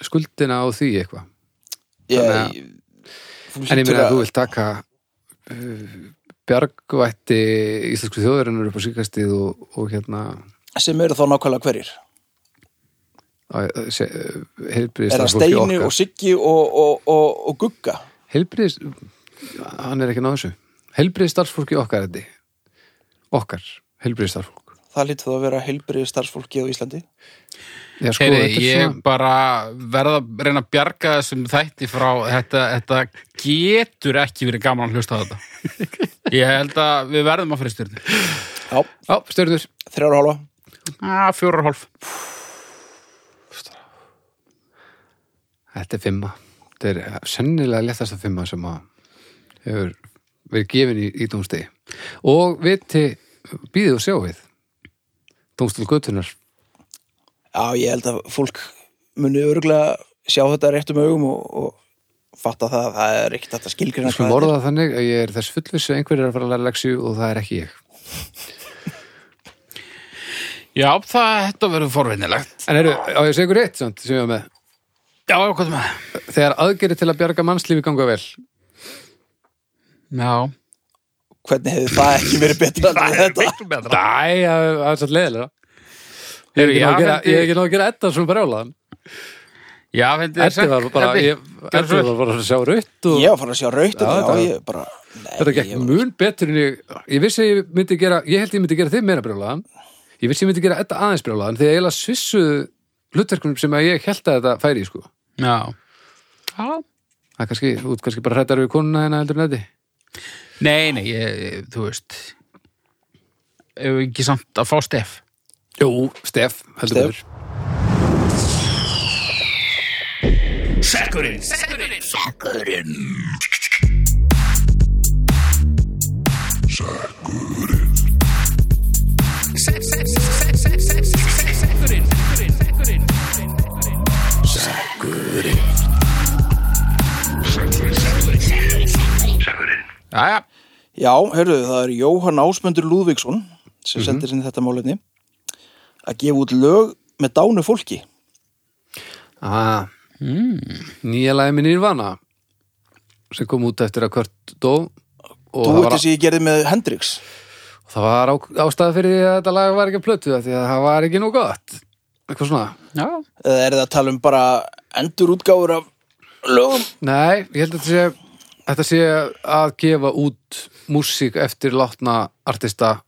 Speaker 2: skuldina á því eitthvað Þannig
Speaker 1: Ég, þú
Speaker 2: en ég
Speaker 1: hlýtur
Speaker 2: meina
Speaker 1: að-
Speaker 2: að þú vilt taka uh, bjargvætti íslensku þjóðurinnar upp á síkastið og, og hérna
Speaker 1: sem eru þá nákvæmlega hverjir
Speaker 2: uh, heilbriðist
Speaker 1: er það Steini og Siggi og, og, og, og Gugga
Speaker 2: Helbriðis, hann er ekki náðu þessu. Helbriðis starfsfólki okkar þetta. Okkar, helbriðis starfsfólk.
Speaker 1: það lítið þá að vera heilbriði starfsfólki á Íslandi
Speaker 2: Já, sko,
Speaker 3: Heyri,
Speaker 2: þetta er
Speaker 3: ég
Speaker 2: svona...
Speaker 3: bara verða að reyna að bjarga þessum þætti frá þetta, þetta getur ekki verið gaman að hlusta á þetta Ég held að við verðum að fyrir styrni
Speaker 1: já,
Speaker 2: Já, stjörnur.
Speaker 1: þrjára hálfa
Speaker 3: ah, Fjórar og hálf
Speaker 2: Þetta er fimma. Þetta er uh, sennilega léttasta fimma sem að hefur verið gefin í, í dómstegi. Og viti, býðið og sjáið. Dómstil Götunar.
Speaker 1: já, ég held að fólk muni örgulega sjá þetta réttum augum og, og fatta það að það er ekkert hægt að skilgrina
Speaker 2: Skulum orða það þannig að ég er þess fullviss að einhver er að fara að læra leksju og það er ekki ég.
Speaker 3: Já, það, þetta verður forvinnilegt.
Speaker 2: En eru, á ég að segja ykkur eitt samt, sem ég var með.
Speaker 3: Já, já, hvað er maður?
Speaker 2: Þegar aðgerið til að bjarga mannslífi ganga vel,
Speaker 3: Já.
Speaker 1: Hvernig hefði það ekki verið betra en þetta?
Speaker 3: miklu betra.
Speaker 2: Æ, það er- það er svolítið leðilega Ég er
Speaker 3: Heyrðu,
Speaker 2: ekki nóg að gera-
Speaker 3: Jafendi-
Speaker 2: ég er ekki nóg að gera Edda svona brjálaðan
Speaker 3: Já, þetta er
Speaker 2: Eddi var bara
Speaker 3: Eddi,
Speaker 2: ég-
Speaker 3: gjörðu
Speaker 2: Eddi
Speaker 3: svo vel.
Speaker 2: var bara að sjá rutt og
Speaker 1: Ég var farin að sjá raukt
Speaker 2: Já,
Speaker 1: og
Speaker 2: þetta-
Speaker 1: ég bara... Nei,
Speaker 2: þetta gekk
Speaker 1: ég var-
Speaker 2: mun betur en ég Ég vissi að ég myndi gera Ég held ég myndi gera þig meira brjálaðan Ég vissi að ég myndi gera Edda aðeins brjálaðan Þegar ég eiginlega svissu hlutverkunum sem að ég held að þetta færi í, sko
Speaker 3: Já. Já.
Speaker 2: Það er kannski, þú ert kannski bara hrættar við konuna hérna heldur en Eddi
Speaker 3: Nei, nei, ég, ég- þú veist. Ef við ekki samt að fá stef.
Speaker 2: Jú, Stef, heldur
Speaker 1: Stef.
Speaker 2: betur
Speaker 3: Jæja.
Speaker 1: Já, heyrðu, það er Jóhann Ásmundur Lúðvíksson
Speaker 2: Mhm.
Speaker 1: sem sendir inn þetta málefni að gefa út lög með dánu fólki.
Speaker 2: Ah, Nýja lagi minn Nirvana sem kom út eftir að Kurt dó
Speaker 1: Þú
Speaker 2: og það
Speaker 1: veit
Speaker 2: var-
Speaker 1: þess að ég gerði með Hendrix.
Speaker 2: Það var á, ástæða fyrir því að þetta lag var ekki að plötu það því að það var ekki nú gott eitthvað svona
Speaker 3: Já.
Speaker 1: Eða er það að tala um bara endurútgáfur af lögum?
Speaker 2: Nei, ég held að þetta sé, þetta sé að gefa út músík eftir látna artista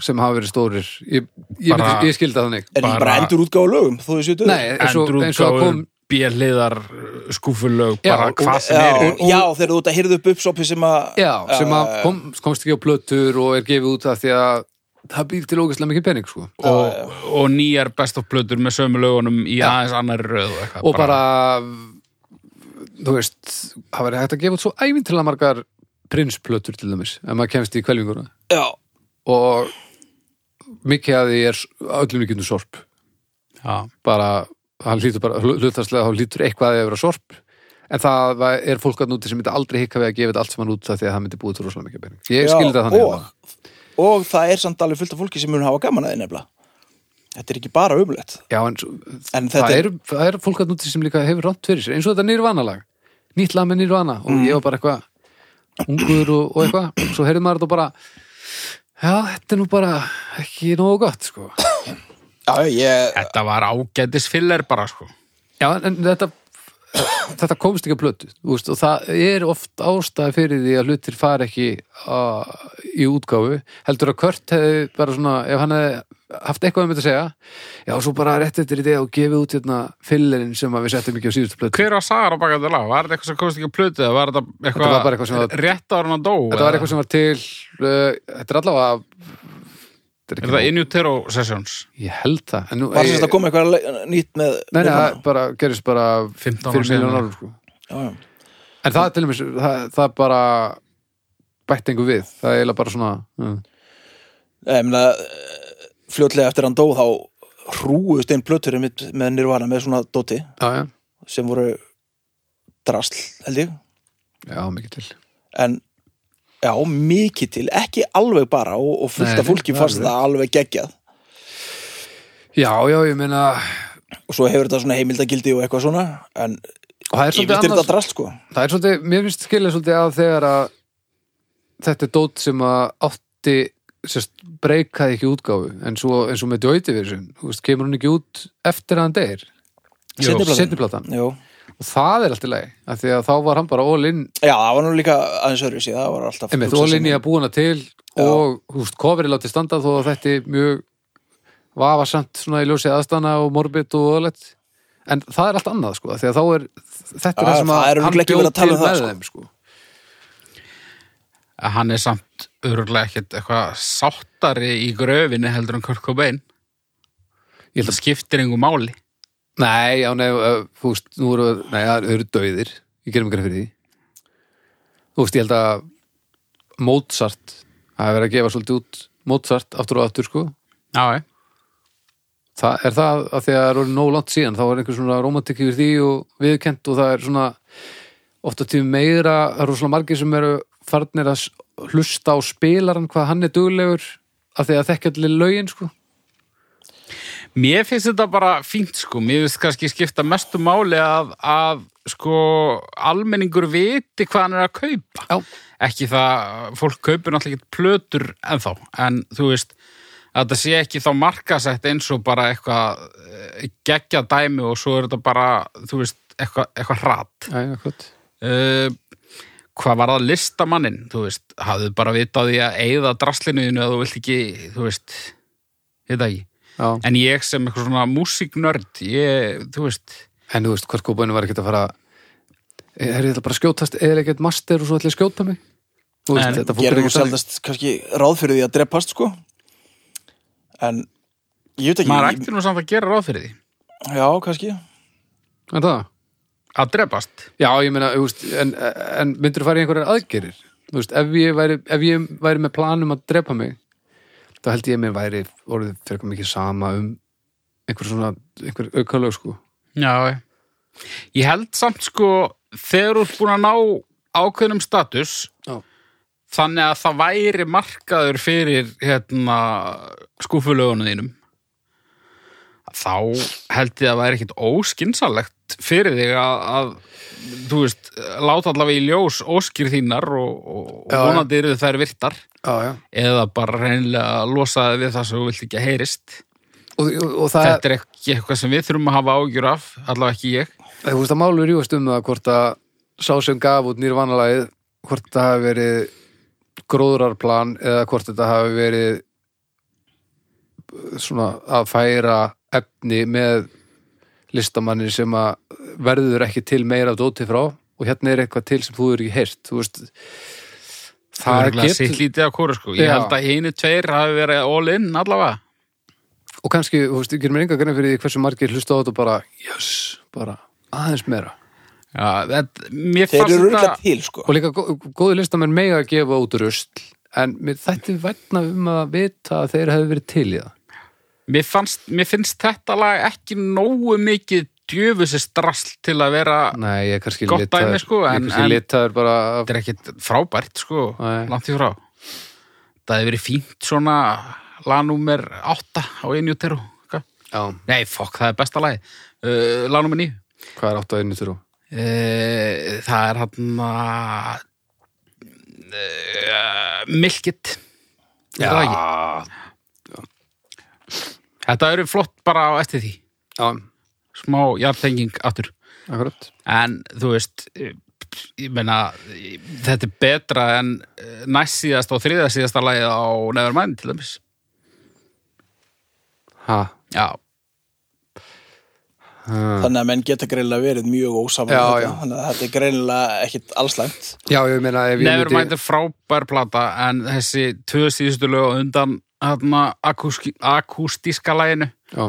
Speaker 2: sem hafa verið stórir ég, ég,
Speaker 3: Bara-
Speaker 2: myndi, ég skildi það þannig
Speaker 1: Er það
Speaker 3: Bara-
Speaker 1: ekki bara endurútgáfur af lögum? Þú veist,
Speaker 2: Nei, eins og, eins og að
Speaker 3: Endurútgáfur,
Speaker 2: kom
Speaker 3: bíliðar, skúfulög,
Speaker 2: Já,
Speaker 3: uh, bara
Speaker 2: og-
Speaker 3: hvað sem
Speaker 1: já,
Speaker 3: er.
Speaker 1: já, þegar þú ert að hyrða upp uppsoppi sem að
Speaker 2: Já, sem að
Speaker 1: Eh.
Speaker 2: kom, komst ekki á plötur og er gefið út það því að það býr til ógæslega mikið pening sko
Speaker 3: og, og nýjar best of plötur með sömu lögunum í aðeins annar röð og, eitthvað,
Speaker 2: og bara þú veist, það verið hægt að gefa út svo ævintilega margar prinsplötur til dæmis, ef maður kemst í kvelvinguna
Speaker 1: Já,
Speaker 2: og mikið að því er að öllum líkjum sorp
Speaker 3: já,
Speaker 2: bara, hann lítur bara hlutastlega, hann lítur eitthvað að vera sorp en það var- er fólk að núti sem myndi aldrei hikka við að gefa þetta allt saman út það því að það myndi búið til rosalega mikið pening ég
Speaker 1: já,
Speaker 2: skildi það þannig hérna.
Speaker 1: og, og það er samt alveg fullt af fólki sem mun hafa gaman að þið nefnilega. Þetta er ekki bara umlegt.
Speaker 2: Já, en, svo-
Speaker 1: En
Speaker 2: það,
Speaker 1: þetta er-
Speaker 2: er, það er fólk að núti sem líka hefur rámt fyrir sér eins og þetta nýrvanalag, nýtt lag með nýrvana og
Speaker 1: Mm.
Speaker 2: ég var bara eitthvað ungur og, og eitthvað, svo heyrði maður þetta og bara já, þetta er nú bara ekki nógu gott, sko
Speaker 1: Já, ég,
Speaker 3: þetta var ágætis filler bara sko
Speaker 2: Já, en þetta þetta komst ekki að plötu úst, og það er oft ástæði fyrir því að hlutir fara ekki uh, í útgáfu, heldur að Kurt hefði bara svona, ef hann hefði haft eitthvað um þetta að segja, já, svo bara rétt eftir í dag og gefið út hérna fyllerinn sem að við settum ekki á síðustu plötu
Speaker 3: hver var sagar á baka þetta lag? Var þetta eitthvað sem komst ekki að plötu eða var þetta eitthvað,
Speaker 2: Þetta var bara eitthvað sem var-
Speaker 3: rétt ára hann að dó?
Speaker 2: Þetta var eitthvað sem var til uh, Þetta er allavega þetta er
Speaker 3: Er
Speaker 2: ekki
Speaker 3: þetta Inutero Sessions?
Speaker 2: Ég held það en nú,
Speaker 1: var
Speaker 2: ég-
Speaker 1: þess að koma eitthvað le- nýtt með
Speaker 2: Nei, nei, það
Speaker 1: Nirvana?
Speaker 2: bara, gerist bara
Speaker 3: 15 ára
Speaker 2: fyrir miljón
Speaker 3: síðan.
Speaker 2: árum sko.
Speaker 1: Já, já.
Speaker 2: En það til og með það, það bara bætt engu við Það er eiginlega bara svona uh.
Speaker 1: Nei, ég meina, eh, fljótlega eftir hann dó þá hrúust einn plötur einmitt með Nirvana með svona dóti
Speaker 2: Já, já,
Speaker 1: sem voru drasl, held ég
Speaker 2: já, mikið til
Speaker 1: en já, mikið til, ekki alveg bara og, og fullt
Speaker 2: Nei,
Speaker 1: af fólki
Speaker 2: nei,
Speaker 1: fannst
Speaker 2: alveg.
Speaker 1: það alveg geggjað
Speaker 2: Já, já, ég meina
Speaker 1: og svo hefur þetta svona heimildagildi og eitthvað svona en
Speaker 2: Og það
Speaker 1: ég
Speaker 2: er
Speaker 1: veit
Speaker 2: svolítið
Speaker 1: þetta
Speaker 2: annars
Speaker 1: drasl sko
Speaker 2: Það er svolítið, mér finnst skilja svolítið að þegar að þetta er dót sem að átti sérst, breykaði ekki útgáfu en svo, en svo með djóti við þessum kemur hún ekki út eftir að hann deyr
Speaker 1: Seinni platan.
Speaker 2: setniplatan
Speaker 1: Jú.
Speaker 2: og það er allt í lagi af því að þá var hann bara all in
Speaker 1: já, það var nú líka aðeins öðru síðan það var alltaf
Speaker 2: einmitt,
Speaker 1: hugsað
Speaker 2: all in
Speaker 1: sem-
Speaker 2: í að búa hana til og húst, kofri látið standa þó að þetta er mjög vafasamt svona í ljósi aðstana og morbid og öllett en það er allt annað sko af því að þá er þetta er
Speaker 1: Já,
Speaker 2: það sem
Speaker 1: Ah, það er
Speaker 2: að hann
Speaker 1: örugglega ekki verið
Speaker 2: bjóð
Speaker 1: að tala
Speaker 2: til
Speaker 1: um það,
Speaker 2: með
Speaker 1: sko.
Speaker 2: þeim sko
Speaker 3: Að Hann er samt örgulega ekkert eitthvað sáttari í gröfinni heldur en Kurt Cobain
Speaker 2: Ég held
Speaker 3: Það skiptir engu máli
Speaker 2: Nei, já, nei, ö, þú veist, nú eru, nei, það eru döiðir, ég gerum ykkur fyrir því. Þú veist, ég held að Mozart, það er verið að gefa svolítið út Mozart aftur og aftur, sko.
Speaker 3: Já, ég.
Speaker 2: Það er það að því að það eru orðið nóg langt síðan, þá er einhver svona romantik yfir því og viðkent og það er svona oft að tíma meira, það eru svona margir sem eru farnir að s- hlusta á spilaran hvað hann er duglegur að því að þekkja allir lögin, sko.
Speaker 3: Mér finnst þetta bara fínt sko, mér finnst kannski skipta mestu máli að, að sko almenningur viti hvað hann er að kaupa.
Speaker 2: Já.
Speaker 3: Ekki það, fólk kaupir náttúrulega ekki plötur ennþá, en þú veist, að þetta sé ekki þá markasett eins og bara eitthvað eh, geggjað dæmi og svo er þetta bara, þú veist, eitthvað, eitthvað hratt.
Speaker 2: Æ, akkurat.
Speaker 3: Uh, hvað var það listamanninn, þú veist, hafðu bara vitað því að eigða draslinuðinu að þú vilt ekki, þú veist, þetta ekki.
Speaker 2: Já. En,
Speaker 3: En ég sem eitthvað svona músíknörd, ég, þú veist,
Speaker 2: en þú veist, hvort kópaðinu var ekkert að fara Eh, er þetta bara að skjótast eða ekkert master og svo ætla ég að skjóta mig þú veist,
Speaker 3: En
Speaker 2: þetta fólk er
Speaker 1: gerir nú
Speaker 2: ekki þannig
Speaker 1: seldast kannski ráð fyrir því að drepast sko en ég veit ekki
Speaker 3: maður ætti nú samt að gera ráð fyrir því.
Speaker 1: já kannski
Speaker 2: en það,
Speaker 3: Að drepast.
Speaker 2: já ég meina, þú veist en, en myndur þú fara í einhverjar aðgerir þú veist, ef ég væri, ef ég væri með planum að drepa mig þá held ég að mér væri orðið fyrir mikið sama um einhver svona, einhver aukalög sko
Speaker 3: Já, ég held samt sko, þegar þú ert búin að ná ákveðnum status,
Speaker 2: Já.
Speaker 3: þannig að það væri markaður fyrir hérna, skúfulögunum þínum, þá held ég að það væri ekkit óskinsalegt fyrir þig að, að þú veist, láta allavega í ljós óskir þínar og, og, og
Speaker 2: Já, já.
Speaker 3: vonandi eru þær virtar.
Speaker 2: já, já.
Speaker 3: eða bara reynilega losa þig við það sem þú vilt ekki að heyrist
Speaker 2: Og, og, og það,
Speaker 3: þetta er ekki eitthvað sem við þurfum að hafa ágjur af allavega ekki ég
Speaker 2: Þú veist að málur rjúast um það hvort að sá sem gaf út nýrvanalagið hvort það hafi verið gróðrarplan eða hvort þetta hafi verið eh, svona að færa efni með listamanni sem að verður ekki til meira af dóti frá og hérna er eitthvað til sem þú er ekki heyrt þú veist
Speaker 3: það
Speaker 2: það
Speaker 3: er ekki sitt
Speaker 2: getur
Speaker 3: lítið að kóra sko ég
Speaker 2: Já.
Speaker 3: held að einu tveir hafi verið all in allavega
Speaker 2: og kannski, þú veist, ég gerir mér enga grein fyrir því hversu margir hlusta á þetta og bara jöss, bara aðeins meira
Speaker 3: Já, þetta,
Speaker 1: þeir
Speaker 3: mér fannst
Speaker 1: eru rúglega
Speaker 3: þetta
Speaker 1: til sko
Speaker 2: og líka gó- góði listamenn mega að gefa út rusl en mér þætti vætna um að vita að þeir hefði verið til í það
Speaker 3: mér, fannst, mér finnst þetta lag ekki nógu mikið djöfusist drasl til að vera
Speaker 2: Nei, ég er kannski
Speaker 3: Gott
Speaker 2: litaður-
Speaker 3: dæmi, sko,
Speaker 2: ég er
Speaker 3: en-
Speaker 2: kannski
Speaker 3: en-
Speaker 2: litaður bara af-
Speaker 3: þetta er ekkit frábært sko
Speaker 2: Nei.
Speaker 3: langt í frá það hefði verið fínt svona lagnúmer 8 á einu teru
Speaker 2: Já,
Speaker 3: nei, fokk, það er besta lagi uh, lagnúmer 9
Speaker 2: hvað er átt að einu til þú?
Speaker 3: Eh, Það er hann að eh, Milkit Já Þetta eru flott bara á eftir því
Speaker 2: Já,
Speaker 3: smá jartenging aftur
Speaker 2: akkurat
Speaker 3: en þú veist eh, ég meina, eh, þetta er betra en eh, næst síðast og þriða síðasta lagið á Nevermind til dæmis
Speaker 2: ha.
Speaker 3: Já,
Speaker 2: Ha.
Speaker 1: þannig að menn geta greinilega verið mjög ósaman
Speaker 2: Já, já.
Speaker 1: þetta. þannig að þetta er greinilega ekkit allslæmt
Speaker 2: Já, ég meina ef ég
Speaker 3: Nevermind er frábær plata en þessi tvö síðustu lög á undan hérna akúski- akústíska laginu
Speaker 2: Já,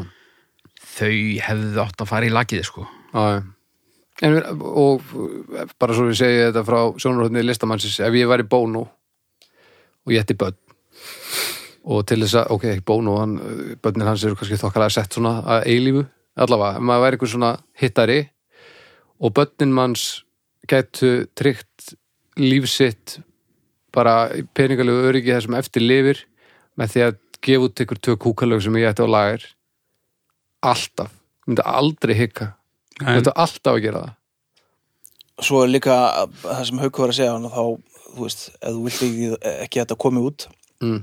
Speaker 3: þau hefðu átt að fara í lagið sko
Speaker 2: já, já En, og bara svo ég segi þetta frá sjónarhóttni listamannsins, ef ég væri bónu og ég ætti börn og til þess að, ok, ekki bónu hann, börnin hans eru kannski þokkalega sett svona að eilífu, allavega, ef maður væri einhver svona hittari og börnin manns gætu tryggt lífsitt bara peningalegu öryggi þar sem eftir lifir með því að gefa út ykkur tvö kúkalög sem ég ætti á lager alltaf, ég myndi aldrei hikka
Speaker 3: Nei.
Speaker 2: þetta alltaf að gera það
Speaker 1: svo er líka það sem Haukur var að segja hann þá, þú veist, ef þú vilt ekki, ekki að þetta komi út
Speaker 2: Mm.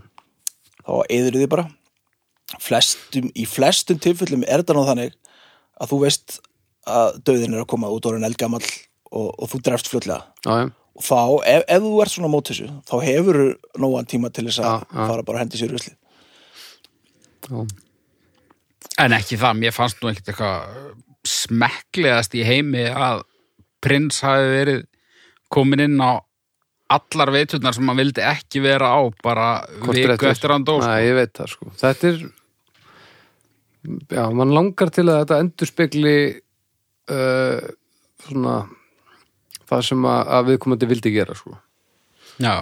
Speaker 1: þá eður þið bara flestum, í flestum tilfellum er þetta nú þannig að þú veist að döðin er að koma út orðin eldgamall og, og þú drefst fljótlega
Speaker 2: Já, já,
Speaker 1: og þá, ef, ef þú ert svona mót þessu þá hefur þú nógan tíma til þess að
Speaker 2: Já, já.
Speaker 1: fara bara að hendi sér rusli
Speaker 2: já.
Speaker 3: En ekki það, mér fannst nú ekkert eitthvað smekklegast í heimi að prins hafi verið komin inn á allar veiturnar sem hann vildi ekki vera á bara
Speaker 2: Kortur
Speaker 3: viku eftir hann dó sko.
Speaker 2: Nei, ég veit það sko Þetta er Já, mann langar til að þetta endurspegli uh, svona það sem að, að viðkomandi vildi gera sko
Speaker 3: Já,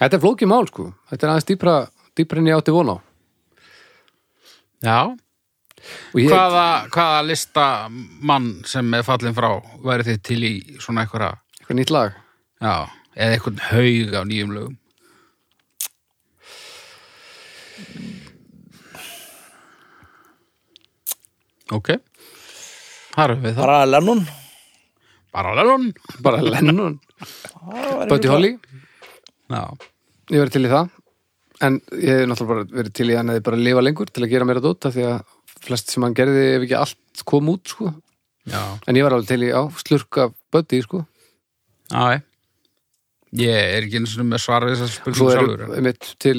Speaker 2: Þetta er flókið mál sko Þetta er aðeins dýpra, dýpra en ég átti von á
Speaker 3: já.
Speaker 2: Og ég,
Speaker 3: Hvaða, hvaða lista mann sem er fallin frá væri þið til í svona einhverja
Speaker 2: eitthvað nýtt lag
Speaker 3: já, eða einhvern haug á nýjum lögum ok það erum við það
Speaker 1: Bara Lennon
Speaker 3: bara lelun
Speaker 2: bara Lennon,
Speaker 1: Það væri
Speaker 2: Buddy
Speaker 1: mjög
Speaker 2: Holly
Speaker 3: já,
Speaker 2: ég verið til í það en ég hef náttúrulega bara verið til í að neði bara lifa lengur til að gera meira dót af því að flest sem hann gerði ef ekki allt kom út sko.
Speaker 3: já,
Speaker 2: en ég var alveg til í á slurka Buddy sko.
Speaker 3: já ég er ekki eins og með svar við þessar
Speaker 2: og svo
Speaker 3: spurningum
Speaker 2: eru
Speaker 3: sjálfur en-
Speaker 2: einmitt til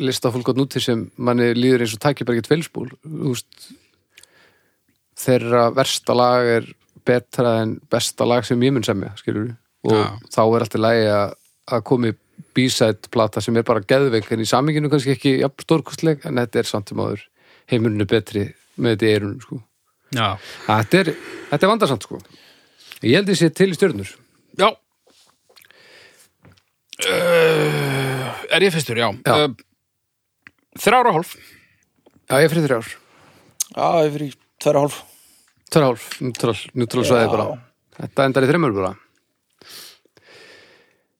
Speaker 2: lista fólk á núti sem manni líður eins og tækir bara ekki tveilspól úst, þeirra versta lag er betra en besta lag sem ég mun semja skilur og
Speaker 3: Já.
Speaker 2: þá er alltaf lagi að, að komi b-side plata sem er bara geðveik en í saminginu kannski ekki ja, stórkostleg en þetta er samt um áður heimurinn er betri með þetta í eirunum sko.
Speaker 3: já,
Speaker 2: þetta er, þetta er vandarsamt sko. ég held ég sé til í stjörnur
Speaker 3: já. Uh, er ég fyrstur, já,
Speaker 2: Já.
Speaker 3: Uh, þrjára hálf
Speaker 2: já ég er fyrir þrjár
Speaker 1: Já, ég fyrir tverra hálf
Speaker 2: Törhálf, nútrál, nútrál svæði bara Þetta endar í þreymur bara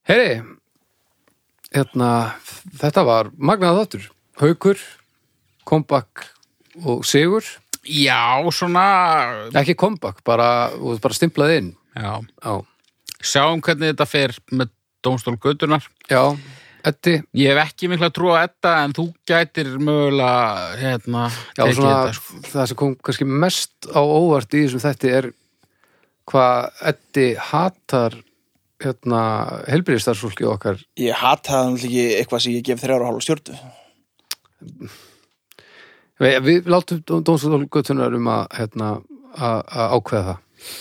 Speaker 2: Heyri Hérna Þetta var magnað þáttur Haukur, comeback og sigur,
Speaker 3: já, svona
Speaker 2: ekki comeback bara, og bara stimplað inn
Speaker 3: já,
Speaker 2: Já,
Speaker 3: sjáum hvernig þetta fer með dómstól göttunar
Speaker 2: já Eddi,
Speaker 3: Ég hef ekki mikla trú á þetta en þú gætir mögulega hérna,
Speaker 2: já,
Speaker 3: tekið
Speaker 2: svona,
Speaker 3: þetta, sko.
Speaker 2: það sem kom kannski mest á óvart í þessum þætti er hvað Eddi hatar hérna, helbriðistarsfólki okkar
Speaker 1: Ég hata það náttúrulega ekki eitthvað sem ég gef þrjára hálf stjórnu
Speaker 2: Við, við látum dómstólgötunar um að, hérna, að, að ákveða það.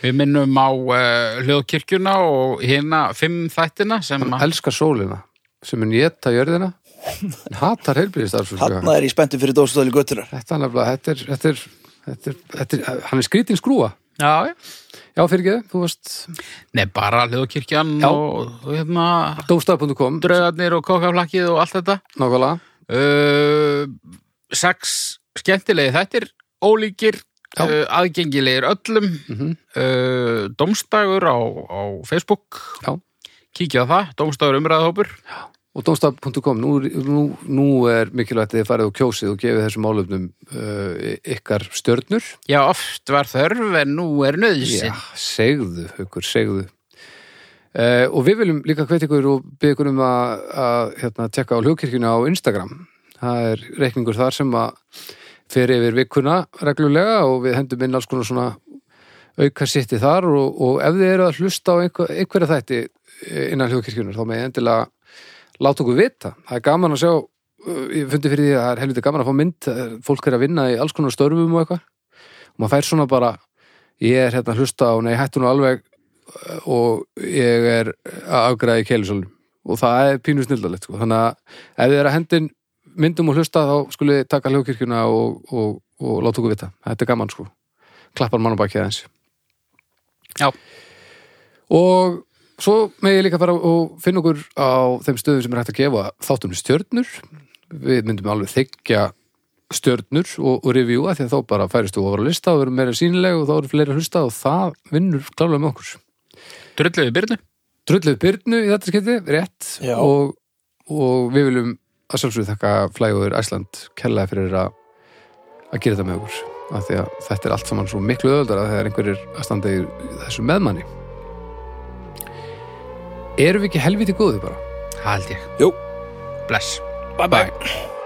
Speaker 3: Við minnum á uh, hljóðkirkjuna og hérna fimm þættina sem
Speaker 2: Hann
Speaker 3: að
Speaker 2: elskar sólina sem mun geta jörðina en hatar
Speaker 1: Þarna
Speaker 2: heilbyrðistarsfólk.
Speaker 1: er ég spenntur fyrir dósastöðli göttunar
Speaker 2: Þetta er nefnilega, þetta er, þetta er, þetta er, þetta er, hann er skrítin skrúa.
Speaker 3: Já, já.
Speaker 2: Já, fyrir ekki, þú veist,
Speaker 3: Nei, bara hljóðkirkjan
Speaker 2: Já.
Speaker 3: og, og hérna
Speaker 2: dómstaf.com,
Speaker 3: draugarnir og kokkaflakkið og allt þetta
Speaker 2: nákvæmlega,
Speaker 3: uh, Sex skemmtilegi þættir, ólíkir
Speaker 2: Já. Mhm.
Speaker 3: uh, aðgengilegir öllum uh, Dómstagur á, á Facebook
Speaker 2: já.
Speaker 3: kíkja á það, Dómstagur umræðahópur
Speaker 2: Og dómstaf.com, nú, nú, nú er mikilvægt að þið farið og kjósið og gefið þessum álöfnum uh, ykkar stjörnur.
Speaker 3: Já, oft var þörf en nú er nöðsinn.
Speaker 2: Já, segðu, haukur, segðu. Uh, og við viljum líka hvetja ykkur og byggja ykkur um að, að hérna, tekka á hljókirkjuna á Instagram. Það er reikningur þar sem að fer yfir vikuna reglulega og við hendum inn alls konar svona auka sitti þar og, og ef þið eru að hlusta á einhver, einhverja þætti eh, innan hljókirkjunar þá með endilega láta okkur vita. Það er gaman að sjá, uh, ég fundi fyrir því að það er helviti gaman að fá mynd, eh, fólk er að vinna í alls konar störfum og eitthvað og maður fær svona bara ég er hérna að hlusta á, nei, hættu nú alveg uh, og ég er að afgræða í keilusalum og það er pínu snildalegt, sko. þannig að ef þið er að hendin myndum og hlusta þá skulle þið taka hljókirkjuna og, og, og láta okkur vita, þetta er gaman sko klappar mann á bakið aðeins
Speaker 3: Já.
Speaker 2: og svo með ég líka fara og finna okkur á þeim stöðum sem er hægt að gefa þáttum stjörnur við myndum alveg þykja stjörnur og, og revjúa því að þá bara færist þú ofar að lista og verður meira sínileg og þá eru fleiri að hlusta og það vinnur klálega með okkur
Speaker 3: Drulluðu byrnu.
Speaker 2: drulluðu Byrnu í þetta skipti, rétt
Speaker 1: Já.
Speaker 2: og, og við viljum að sjálfsögðu þakka Flægur Æsland kellaði fyrir að, að gera þetta með okkur af því að þetta er allt saman svo miklu öðuldara þegar einhverjir að standa í þessu meðmanni Erum við ekki helviti góði bara?
Speaker 3: Það held ég.
Speaker 1: Jú,
Speaker 3: Bless.
Speaker 1: bye bye